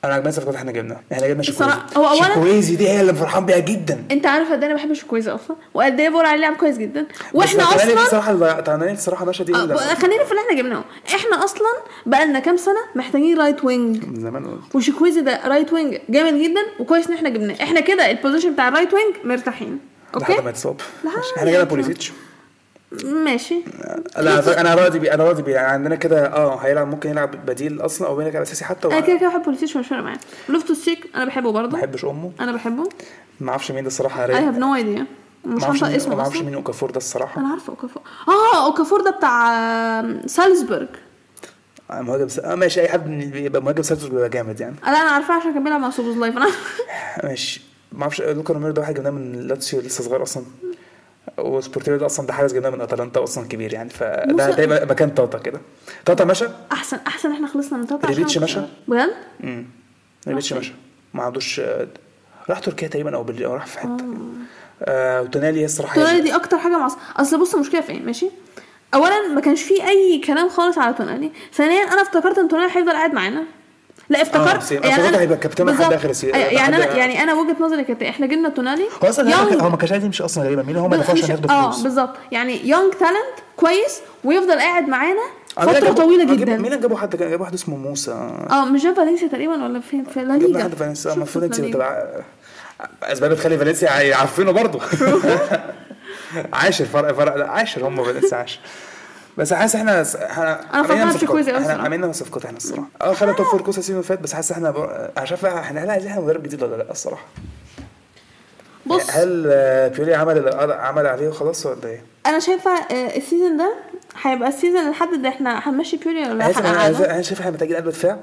Speaker 2: انا عجباني الصفقات اللي احنا جبناها احنا جبنا شيكويزي
Speaker 1: الصراحة- هو أولاً-
Speaker 2: شيكويزي دي هي اللي فرحان بيها جدا
Speaker 1: انت عارف قد ايه انا بحب شكويزة اصلا وقد ايه بقول عليه لاعب كويس جدا واحنا
Speaker 2: بس تعبانين
Speaker 1: اصلا
Speaker 2: بصراحه اللي ضيع- تعبانين بصراحه ماشي دي
Speaker 1: آه،
Speaker 2: اللي-
Speaker 1: بقى- خلينا في اللي احنا جبناه احنا اصلا بقالنا كام سنه محتاجين رايت وينج
Speaker 2: من زمان قلت
Speaker 1: وشيكويزي ده رايت وينج جامد جدا وكويس ان احنا جبناه احنا كده البوزيشن بتاع الرايت وينج مرتاحين
Speaker 2: لحد ما
Speaker 1: اوكي
Speaker 2: يتصاب
Speaker 1: لحد
Speaker 2: ماشي.
Speaker 1: ما
Speaker 2: احنا جبنا
Speaker 1: يتصاب.
Speaker 2: بوليزيتش
Speaker 1: ماشي
Speaker 2: انا على فكرة- انا راضي بيه انا راضي بيه يعني عندنا كده اه هيلعب ممكن يلعب بديل اصلا او يلعب اساسي حتى
Speaker 1: انا
Speaker 2: وما
Speaker 1: كده كده بحب بوليسيتش مش فارق معايا لوفتوس شيك انا بحبه برضه
Speaker 2: بحبش امه
Speaker 1: انا بحبه
Speaker 2: ما اعرفش مين ده الصراحه
Speaker 1: اي هاف
Speaker 2: ما
Speaker 1: نو ايديا مش
Speaker 2: اعرفش
Speaker 1: هنطق
Speaker 2: مين- طيب. ما
Speaker 1: اسمه
Speaker 2: اعرفش
Speaker 1: اصلا
Speaker 2: مين اوكافور ده الصراحه
Speaker 1: انا عارفه اوكافور اه اوكافور ده بتاع آم، سالزبورج
Speaker 2: آه، مهاجم س... آه ماشي اي حد من- يبقى مهاجم سيرتوس بيبقى جامد يعني آه،
Speaker 1: لا انا عارفاه عشان كان بيلعب مع سوبوز لايف انا
Speaker 2: ماشي ما اعرفش لوكا روميرو ده واحد جبناه من لاتسيو لسه صغير اصلا وسبورتيرو ده اصلا ده حارس جبناه من اتلانتا اصلا كبير يعني فده
Speaker 1: موسى-
Speaker 2: ده يبقى مكان تاتا كده تاتا مشى
Speaker 1: احسن احسن احنا خلصنا من تاتا عشان-
Speaker 2: ريبيتش مشى؟
Speaker 1: بجد؟
Speaker 2: امم ريبيتش مشى ما عندوش آه، راح تركيا تقريبا او بال- أو راح في حته آه وتونالي هي الصراحه
Speaker 1: تونالي دي اكتر حاجه معصبه اصل بص المشكله في ايه ماشي اولا ما كانش فيه اي كلام خالص على تونالي ثانيا انا افتكرت ان تونالي هيفضل قاعد معانا لا افتكرت يعني
Speaker 2: سيم. افتكرت آه، هيبقى كابتن لحد
Speaker 1: بالظبط.
Speaker 2: آخر السي-
Speaker 1: أي- يعني
Speaker 2: لحد-
Speaker 1: انا يعني انا وجهه نظري كانت إيه؟ احنا جبنا تونالي
Speaker 2: هو اصلا
Speaker 1: يونج.
Speaker 2: هو ما كانش عايز يمشي اصلا غريبا مين هم دفعوا عشان
Speaker 1: مفيش-
Speaker 2: ياخدوا
Speaker 1: اه
Speaker 2: فلوس
Speaker 1: بالظبط يعني يونج تالنت كويس ويفضل قاعد معانا
Speaker 2: آه، مين
Speaker 1: فتره
Speaker 2: جابوا-
Speaker 1: طويله
Speaker 2: آه، جابوا- مين
Speaker 1: جدا
Speaker 2: اللي جابوا حد كان جابوا واحد اسمه موسى
Speaker 1: اه مش ده فالنسيا تقريبا ولا فين في لا
Speaker 2: جبنا
Speaker 1: ليجا
Speaker 2: حد فالنسيا
Speaker 1: شفت
Speaker 2: المفروض
Speaker 1: في
Speaker 2: انت
Speaker 1: لا ليجا.
Speaker 2: بتبقى اسباب تخلي فالنسيا يعفنوا برضه عاشر فرق فرق لا عاشر هم فالنسيا عاشر بس حاسس احنا احنا
Speaker 1: أنا فرحانة
Speaker 2: عملنا
Speaker 1: بشيكوزي
Speaker 2: صفقات
Speaker 1: أوي
Speaker 2: احنا
Speaker 1: الصراحة.
Speaker 2: عملنا صفقات احنا الصراحه اه خلينا توب فور كوسا السيزون اللي فات بس حاسس احنا بر... انا شايف احنا هل عايزين مدرب جديد ولا لا الصراحه
Speaker 1: بص
Speaker 2: هل آه، بيولي عمل اللي عمل عليه وخلاص ولا ايه؟
Speaker 1: انا شايفه آه، السيزون ده هيبقى السيزون اللي حد ده احنا هنمشي بيوري ولا
Speaker 2: حاسس انا عايز-
Speaker 1: هنقعده؟
Speaker 2: انا شايف احنا محتاجين قلب دفاع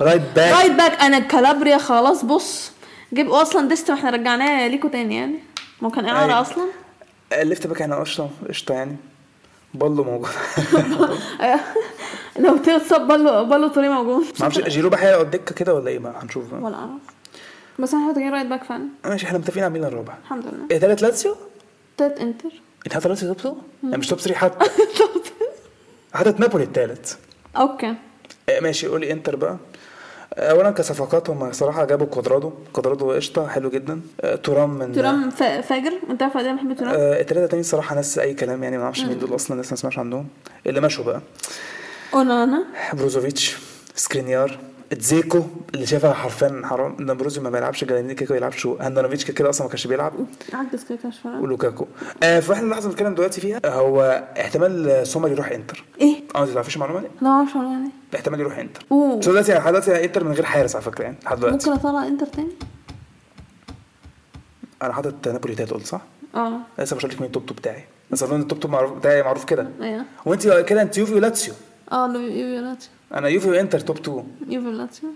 Speaker 2: رايت باك
Speaker 1: رايت باك انا كالابريا خلاص بص جيب اصلا ديست ما احنا رجعناه ليكوا تاني يعني ما هو كان
Speaker 2: أيوة.
Speaker 1: اعاره اصلا
Speaker 2: الليفت باك احنا قشطه قشطه يعني بالو موجود
Speaker 1: لو تتصاب بالو بالو طري موجود
Speaker 2: ما اعرفش جيروب هيقعد دكه كده ولا ايه بقى هنشوف بقى.
Speaker 1: ولا اعرف بس احنا محتاجين رايت باك فعلا
Speaker 2: ماشي احنا متفقين على مين الرابع
Speaker 1: الحمد لله
Speaker 2: ايه تالت لاتسيو
Speaker 1: تالت انتر
Speaker 2: انت حاطط لاتسيو توب 2 يعني مش توب 3 حتى حاطط نابولي التالت
Speaker 1: اوكي
Speaker 2: آه، ماشي قولي انتر بقى آه، اولا كصفقات هم صراحه جابوا كوادرادو كوادرادو قشطه حلو جدا آه، تورام من
Speaker 1: ترام فا- فاجر انت عارف قد ايه بحب ترام
Speaker 2: آه، التلاته تاني صراحه ناس اي كلام يعني ما اعرفش مين دول اصلا لسه ما سمعش عنهم اللي مشوا بقى
Speaker 1: اونانا
Speaker 2: بروزوفيتش سكرينيار تزيكو اللي شايفها حرفيا حرام نبروزي ما بيلعبش جالانيكا كده ما بيلعبش هاندانوفيتش كده اصلا ما كانش بيلعب
Speaker 1: عكس كده مش فارقة.
Speaker 2: ولوكاكو آه فاحنا اللحظه اللي بنتكلم دلوقتي فيها آه، هو احتمال آه، سومر يروح انتر
Speaker 1: ايه
Speaker 2: اه انت ما تعرفيش المعلومه دي
Speaker 1: لا معرفش ولا يعني
Speaker 2: احتمال يروح انتر
Speaker 1: اوه
Speaker 2: بس هو دلوقتي لحد دلوقتي انتر من غير حارس على فكره يعني لحد دلوقتي
Speaker 1: ممكن اطلع انتر تاني
Speaker 2: انا حاطط نابولي تالت قلت صح؟
Speaker 1: اه
Speaker 2: لسه مش قلت لك مين التوب توب بتاعي بس اظن التوب توب معروف بتاعي معروف كده
Speaker 1: ايه
Speaker 2: وانت كده انت يوفي ولاتسيو
Speaker 1: اه لو- يوفي لاتسيو
Speaker 2: انا يوفي وانتر توب 2
Speaker 1: يوفي لاتسيو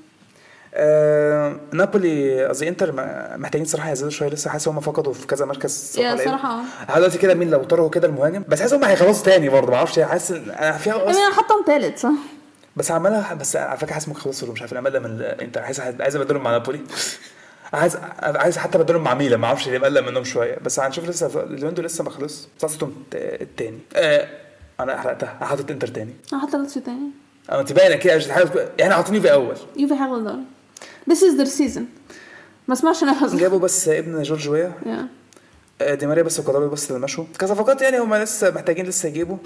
Speaker 2: آه نابولي قصدي انتر ما- محتاجين صراحه يزيدوا شويه لسه حاسس هم فقدوا في كذا مركز
Speaker 1: يا
Speaker 2: لعيبة.
Speaker 1: صراحة اه.
Speaker 2: لحد دلوقتي كده مين لو طاروا كده المهاجم بس حاسس هم هيخلصوا تاني برضه ما اعرفش حاسس ان- انا فيها
Speaker 1: يعني انا حاطهم تالت صح
Speaker 2: بس عمالها بس على فكره حاسس ممكن يخلصوا مش عارف انا مقلق من انت عايز عايز ابدلهم مع نابولي عايز عايز حتى ابدلهم مع ميلان ما اعرفش ليه مقلق منهم شويه بس هنشوف لسه اليومين دول لسه ما خلص صاصتهم التاني آه انا حرقتها حاطط انتر تاني
Speaker 1: انا حاطه لاتسيو تاني
Speaker 2: أو انت باينه كده مش يعني عارف- احنا حاطين يوفي اول
Speaker 1: يوفي هياخد الدوري This is their season ما اسمعش نفسك
Speaker 2: جابوا بس ابن جورج ويا
Speaker 1: يا.
Speaker 2: آه، دي ماريا بس وكهربا بس اللي مشوا كصفقات يعني هم لسه محتاجين لسه يجيبوا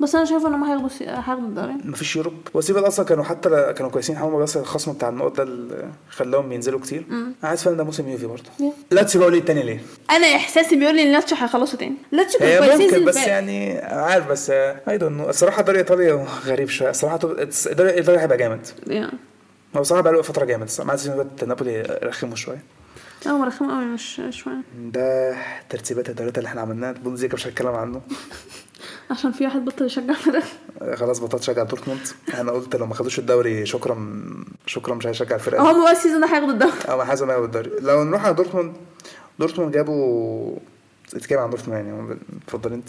Speaker 1: بس انا شايفه ان هم هياخدوا سي- هياخدوا الدوري
Speaker 2: مفيش يوروب وسيبل اصلا كانوا حتى لا- كانوا كويسين هم بس الخصم بتاع النقط ده اللي خلاهم ينزلوا كتير عايز فعلا ده موسم يوفي برضه
Speaker 1: ليه؟
Speaker 2: لاتسيو بقى ليه التاني ليه؟
Speaker 1: انا احساسي بيقول لي ان لاتسيو هيخلصوا تاني لاتسيو كانوا
Speaker 2: هي
Speaker 1: كويسين السيزون
Speaker 2: ممكن بس
Speaker 1: اللي فات.
Speaker 2: يعني عارف بس اي دونت نو الصراحه الدوري الايطالي غريب شويه الصراحه طب- الدوري الايطالي هيبقى جامد
Speaker 1: يا.
Speaker 2: هو صراحه بقى له فتره جامد الصراحه مع السيزون اللي فات نابولي رخموا شويه
Speaker 1: اه رخم قوي مش شويه
Speaker 2: ده ترتيبات الدوريات اللي احنا عملناها بونزيكا مش هتكلم عنه
Speaker 1: عشان في واحد بطل يشجع فرق
Speaker 2: خلاص بطلت شجع دورتموند انا قلت لو ما خدوش الدوري شكرا شكرا مش هشجع الفرقه دي.
Speaker 1: هم بقى السيزون ده هياخدوا الدوري
Speaker 2: او ما حاسس ما الدوري لو نروح على دورتموند دورتموند جابوا اتكلم عن دورتموند يعني اتفضل انت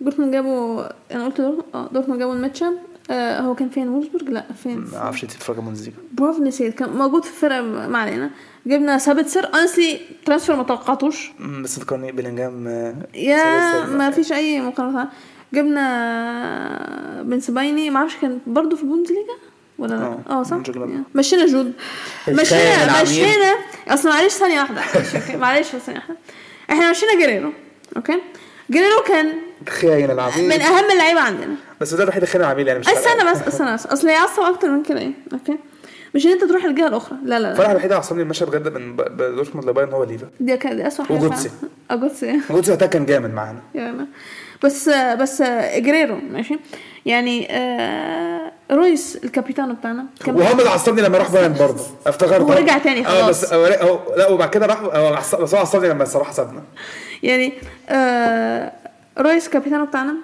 Speaker 1: دورتموند جابوا انا قلت دورتموند اه دورتموند جابوا الماتشام آه هو كان فين وولفسبورج لا فين
Speaker 2: ما اعرفش انت بتتفرج على بونزيكا
Speaker 1: برافو نسيت كان موجود في الفرقه ما علينا جبنا سابتسر اونستلي ترانسفير ما توقعتوش
Speaker 2: مم، بس فكرني بلينجهام آه،
Speaker 1: يا
Speaker 2: سلسل.
Speaker 1: ما فيش اي آه، مقارنه جبنا بن سبايني ما اعرفش كان برضه في البوندسليجا ولا لا؟
Speaker 2: آه،
Speaker 1: اه صح؟
Speaker 2: جوجلات.
Speaker 1: Yeah. مشينا جود
Speaker 3: الخيال
Speaker 1: مشينا
Speaker 3: العميق.
Speaker 1: مشينا اصل معلش ثانية واحدة معلش، أوكي؟ معلش بس ثانية واحدة احنا مشينا جريرو اوكي جريرو كان
Speaker 3: خاين
Speaker 2: إيه.
Speaker 1: من
Speaker 3: العميل
Speaker 1: اهم اللعيبه عندنا
Speaker 2: يعني بس ده الوحيد اللي خلى العميل يعني مش
Speaker 1: استنى بس استنى بس اصل هيعصب اكتر من كده ايه اوكي مش ان انت تروح الجهه الاخرى لا لا
Speaker 2: الفرحه
Speaker 1: لا
Speaker 2: الوحيده اللي عصبني المشهد بجد من ب- ب- دورتموند لبايرن هو ليفا
Speaker 1: دي كانت دي اسوء حاجه
Speaker 2: وجوتسي.
Speaker 1: فعلاً. اه جوتسي
Speaker 2: جوتزي وقتها كان جامد معانا
Speaker 1: يعني بس بس جريرو ماشي يعني آه، رويس الكابيتانو بتاعنا كان
Speaker 3: وهو اللي عصبني لما راح بايرن برضه افتكرت
Speaker 1: هو رجع
Speaker 2: آه،
Speaker 1: تاني
Speaker 3: اه
Speaker 1: خلاص.
Speaker 3: بس هو رجع- هو- لا وبعد كده راح هو عص- بس هو عصبني لما صلاح سابنا
Speaker 1: يعني آه رويس كابيتانو بتاعنا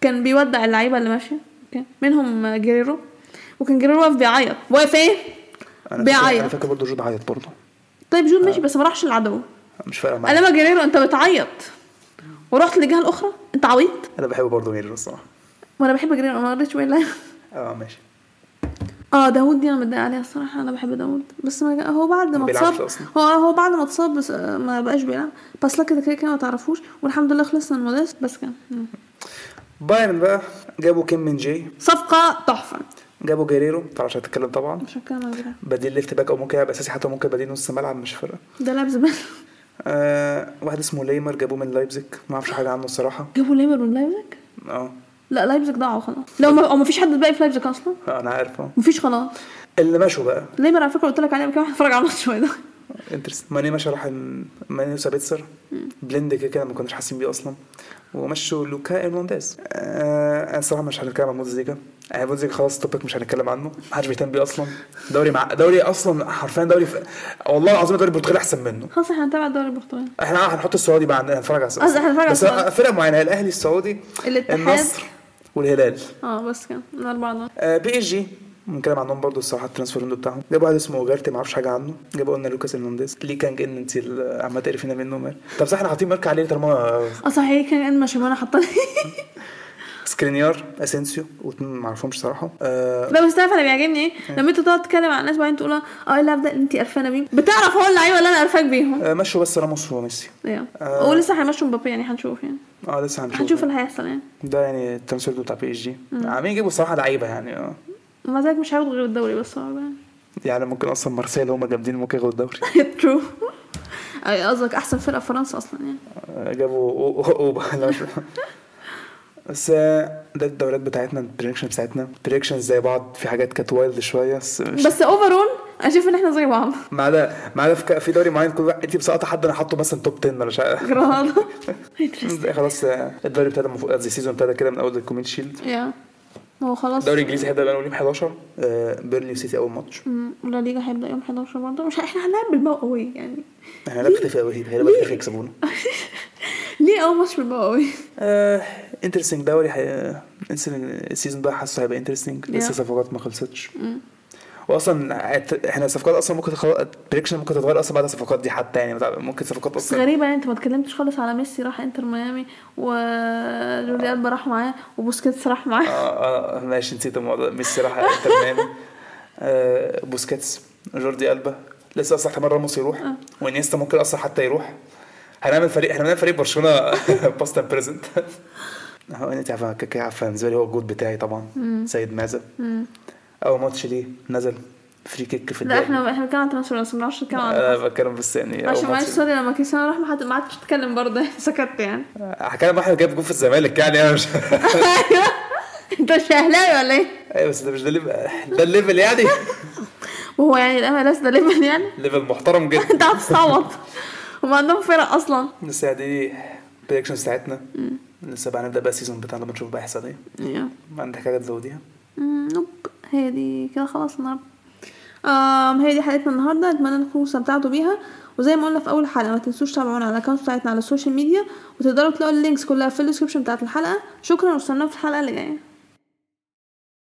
Speaker 1: كان بيودع اللعيبه اللي ماشيه اوكي منهم آه، جريرو وكان جريرو واقف بيعيط واقف ايه؟
Speaker 2: انا فاكر- آه. انا
Speaker 1: بيعيط
Speaker 2: فاكر برضه جود عيط برضه
Speaker 1: طيب جون ماشي بس ما راحش العدو
Speaker 2: مش فارقه معايا
Speaker 1: انا ما جريرو انت بتعيط ورحت للجهه الاخرى انت عبيط
Speaker 2: انا بحب برضه ميرو الصراحه
Speaker 1: وانا بحب جريرو ما قريتش بيه لا.
Speaker 2: اه ماشي
Speaker 1: اه داوود دي انا متضايقه عليها الصراحه انا بحب داوود بس ما هو بعد
Speaker 2: ما
Speaker 1: ما
Speaker 2: بيلعبش
Speaker 1: اتصاب
Speaker 2: أصلاً.
Speaker 1: هو هو بعد ما اتصاب بس آه، ما بقاش بيلعب بس لا كده كده كده ما تعرفوش والحمد لله خلصنا من المدرس بس كده مم.
Speaker 2: بايرن بقى جابوا كيم من جي
Speaker 1: صفقه تحفه
Speaker 2: جابوا جيريرو ما تعرفش هتتكلم طبعا
Speaker 1: مش هتكلم عن جريرو.
Speaker 2: بديل ليفت باك او ممكن يلعب اساسي حتى ممكن بديل نص ملعب مش فارقه
Speaker 1: ده لعب زمان
Speaker 2: آه واحد اسمه ليمر جابوه من لايبزيج ما اعرفش حاجه عنه الصراحه
Speaker 1: جابوا ليمر من لايبزيج
Speaker 2: اه
Speaker 1: لا لايبزيج ضاعوا خلاص لو ما أو مفيش حد باقي في لايبزيج اصلا
Speaker 2: آه، انا عارف اه
Speaker 1: مفيش خلاص
Speaker 2: اللي مشوا بقى
Speaker 1: ليمر على فكره قلت لك عليه قبل كده اتفرج على الماتش شويه ده
Speaker 2: انترست ماني مشى راح ال- ماني وسابيتسر بليند كده كده ما كناش حاسين بيه اصلا ومشوا لوكا ارنانديز آه انا الصراحه مش هنتكلم عن مودزيكا يعني مودزيكا خلاص توبيك مش هنتكلم عنه محدش بيهتم بيه اصلا دوري مع دوري اصلا حرفيا دوري ف... والله العظيم دوري البرتغال احسن منه
Speaker 1: خلاص احنا هنتابع الدوري البرتغالي
Speaker 2: احنا هنحط السعودي بقى عندنا هنتفرج على السعودي
Speaker 1: قصدي هنتفرج على
Speaker 2: بس
Speaker 1: السعودي.
Speaker 2: فرق معينه الاهلي السعودي
Speaker 1: الاتحاد.
Speaker 2: النصر والهلال
Speaker 1: اه بس كده من اربعه دول
Speaker 2: آه، بي اس جي بنتكلم عنهم برضه الصراحه الترانسفير ويندو بتاعهم جابوا واحد اسمه اوجارتي ما اعرفش حاجه عنه جابوا قلنا لوكاس هرنانديز ليه كان جن انت عمال تعرفينا منه مال طب صح احنا حاطين مارك عليه طالما
Speaker 1: اه صحيح كان ان ماشيمانا حطني
Speaker 2: سكرينيار اسينسيو واتنين ما اعرفهمش صراحه آه
Speaker 1: لا بس تعرف انا بيعجبني
Speaker 2: إيه.
Speaker 1: ايه لما انت تقعد تتكلم عن الناس بعدين تقول اه اللاعب ده انت قرفانه بيه بتعرف هو اللعيبه اللي انا قرفاك بيهم
Speaker 2: آه، مشوا بس راموس وميسي
Speaker 1: ايوه
Speaker 2: آه.
Speaker 1: ولسه هيمشوا مبابي يعني هنشوف يعني
Speaker 2: اه لسه هنشوف
Speaker 1: هنشوف اللي هيحصل يعني
Speaker 2: ده يعني الترانسفير ويندو بتاع بي اس جي عاملين يجيبوا صراحه لعيبه يعني آه.
Speaker 1: ومع ذلك مش هياخدوا غير الدوري بس صعب يعني
Speaker 2: يعني ممكن اصلا مارسيل هم جامدين ممكن ياخدوا الدوري
Speaker 1: ترو اي قصدك احسن فرقه في فرنسا اصلا يعني
Speaker 2: آه، جابوا أو- أو- اوبا لا، مش- بس آه، ده الدوريات بتاعتنا البريكشن بتاعتنا بريكشنز زي بعض في حاجات كانت وايلد شويه بس مش-
Speaker 1: بس اوفرول انا شايف ان احنا زي بعض
Speaker 2: ما عدا ما عدا في- في دوري معين كل واحد- انت مسقطه حد انا حاطه مثلا توب 10 ولا مش عارف
Speaker 1: جراد
Speaker 2: خلاص آه، الدوري ابتدى المفروض قصدي السيزون ابتدى كده من اول الكومين شيلد
Speaker 1: يا ما هو خلاص
Speaker 2: الدوري الانجليزي هيبدا بقى يوم 11 آه، بيرني وسيتي اول ماتش
Speaker 1: مم، ولا ليجا هيبدا يوم 11 برضه مش احنا هنلعب بالباقي قوي يعني
Speaker 2: احنا لا بتفق قوي هيبقى بتفق يكسبونا
Speaker 1: ليه اول ماتش بالباقي قوي
Speaker 2: آه، انترستنج دوري هي... السيزون ده حاسه هيبقى انترستنج لسه
Speaker 1: Yeah.
Speaker 2: صفقات ما خلصتش واصلا عت- احنا الصفقات اصلا ممكن تخل... بريكشن ممكن تتغير اصلا بعد الصفقات دي حتى يعني متع- ممكن صفقات
Speaker 1: بس
Speaker 2: اصلا
Speaker 1: غريبة يعني انت ما اتكلمتش خالص على ميسي راح انتر ميامي وجولي ألبا راح معاه وبوسكيتس راح معاه
Speaker 2: اه اه ماشي نسيت الموضوع ده. ميسي راح انتر ميامي آه بوسكيتس جوردي البا لسه اصلا احتمال راموس يروح
Speaker 1: آه.
Speaker 2: وانيستا ممكن اصلا حتى يروح هنعمل فريق احنا بنعمل فريق برشلونه باست اند بريزنت هو انت عارفه كاكا عارفه بالنسبه لي هو الجود بتاعي طبعا سيد مازن اول ماتش ليه نزل فري كيك في
Speaker 1: لا
Speaker 2: الدقيقه
Speaker 1: احنا احنا بنتكلم عن ترانسفير بس ما بنعرفش نتكلم عن
Speaker 2: انا بتكلم بس يعني اول
Speaker 1: عشان معلش
Speaker 2: ماتش
Speaker 1: سوري لما كريستيانو راح ما حد- ما عدتش تتكلم برضه سكت يعني
Speaker 2: هتكلم احمد جاب جول في الزمالك يعني انا مش
Speaker 1: ايوه انت مش اهلاوي ولا ايه؟
Speaker 2: ايوه بس ده مش ده الليفل ده الليفل يعني
Speaker 1: وهو يعني الام اس ده ليفل يعني
Speaker 2: ليفل محترم جدا
Speaker 1: انت هتستعوض هم عندهم فرق اصلا
Speaker 2: بس يعني دي البريكشنز بتاعتنا لسه بقى هنبدا بقى السيزون بتاعنا بنشوف بقى هيحصل ايه
Speaker 1: يا.
Speaker 2: عندك حاجه تزوديها
Speaker 1: مم، نوب هي دي كده خلاص النهارده آم هي دي حلقتنا النهارده اتمنى انكم استمتعتوا بيها وزي ما قلنا في اول حلقه ما تنسوش تتابعونا على الاكونت بتاعتنا على السوشيال ميديا وتقدروا تلاقوا اللينكس كلها في الديسكربشن بتاعت الحلقه شكرا واستنونا في الحلقه اللي جايه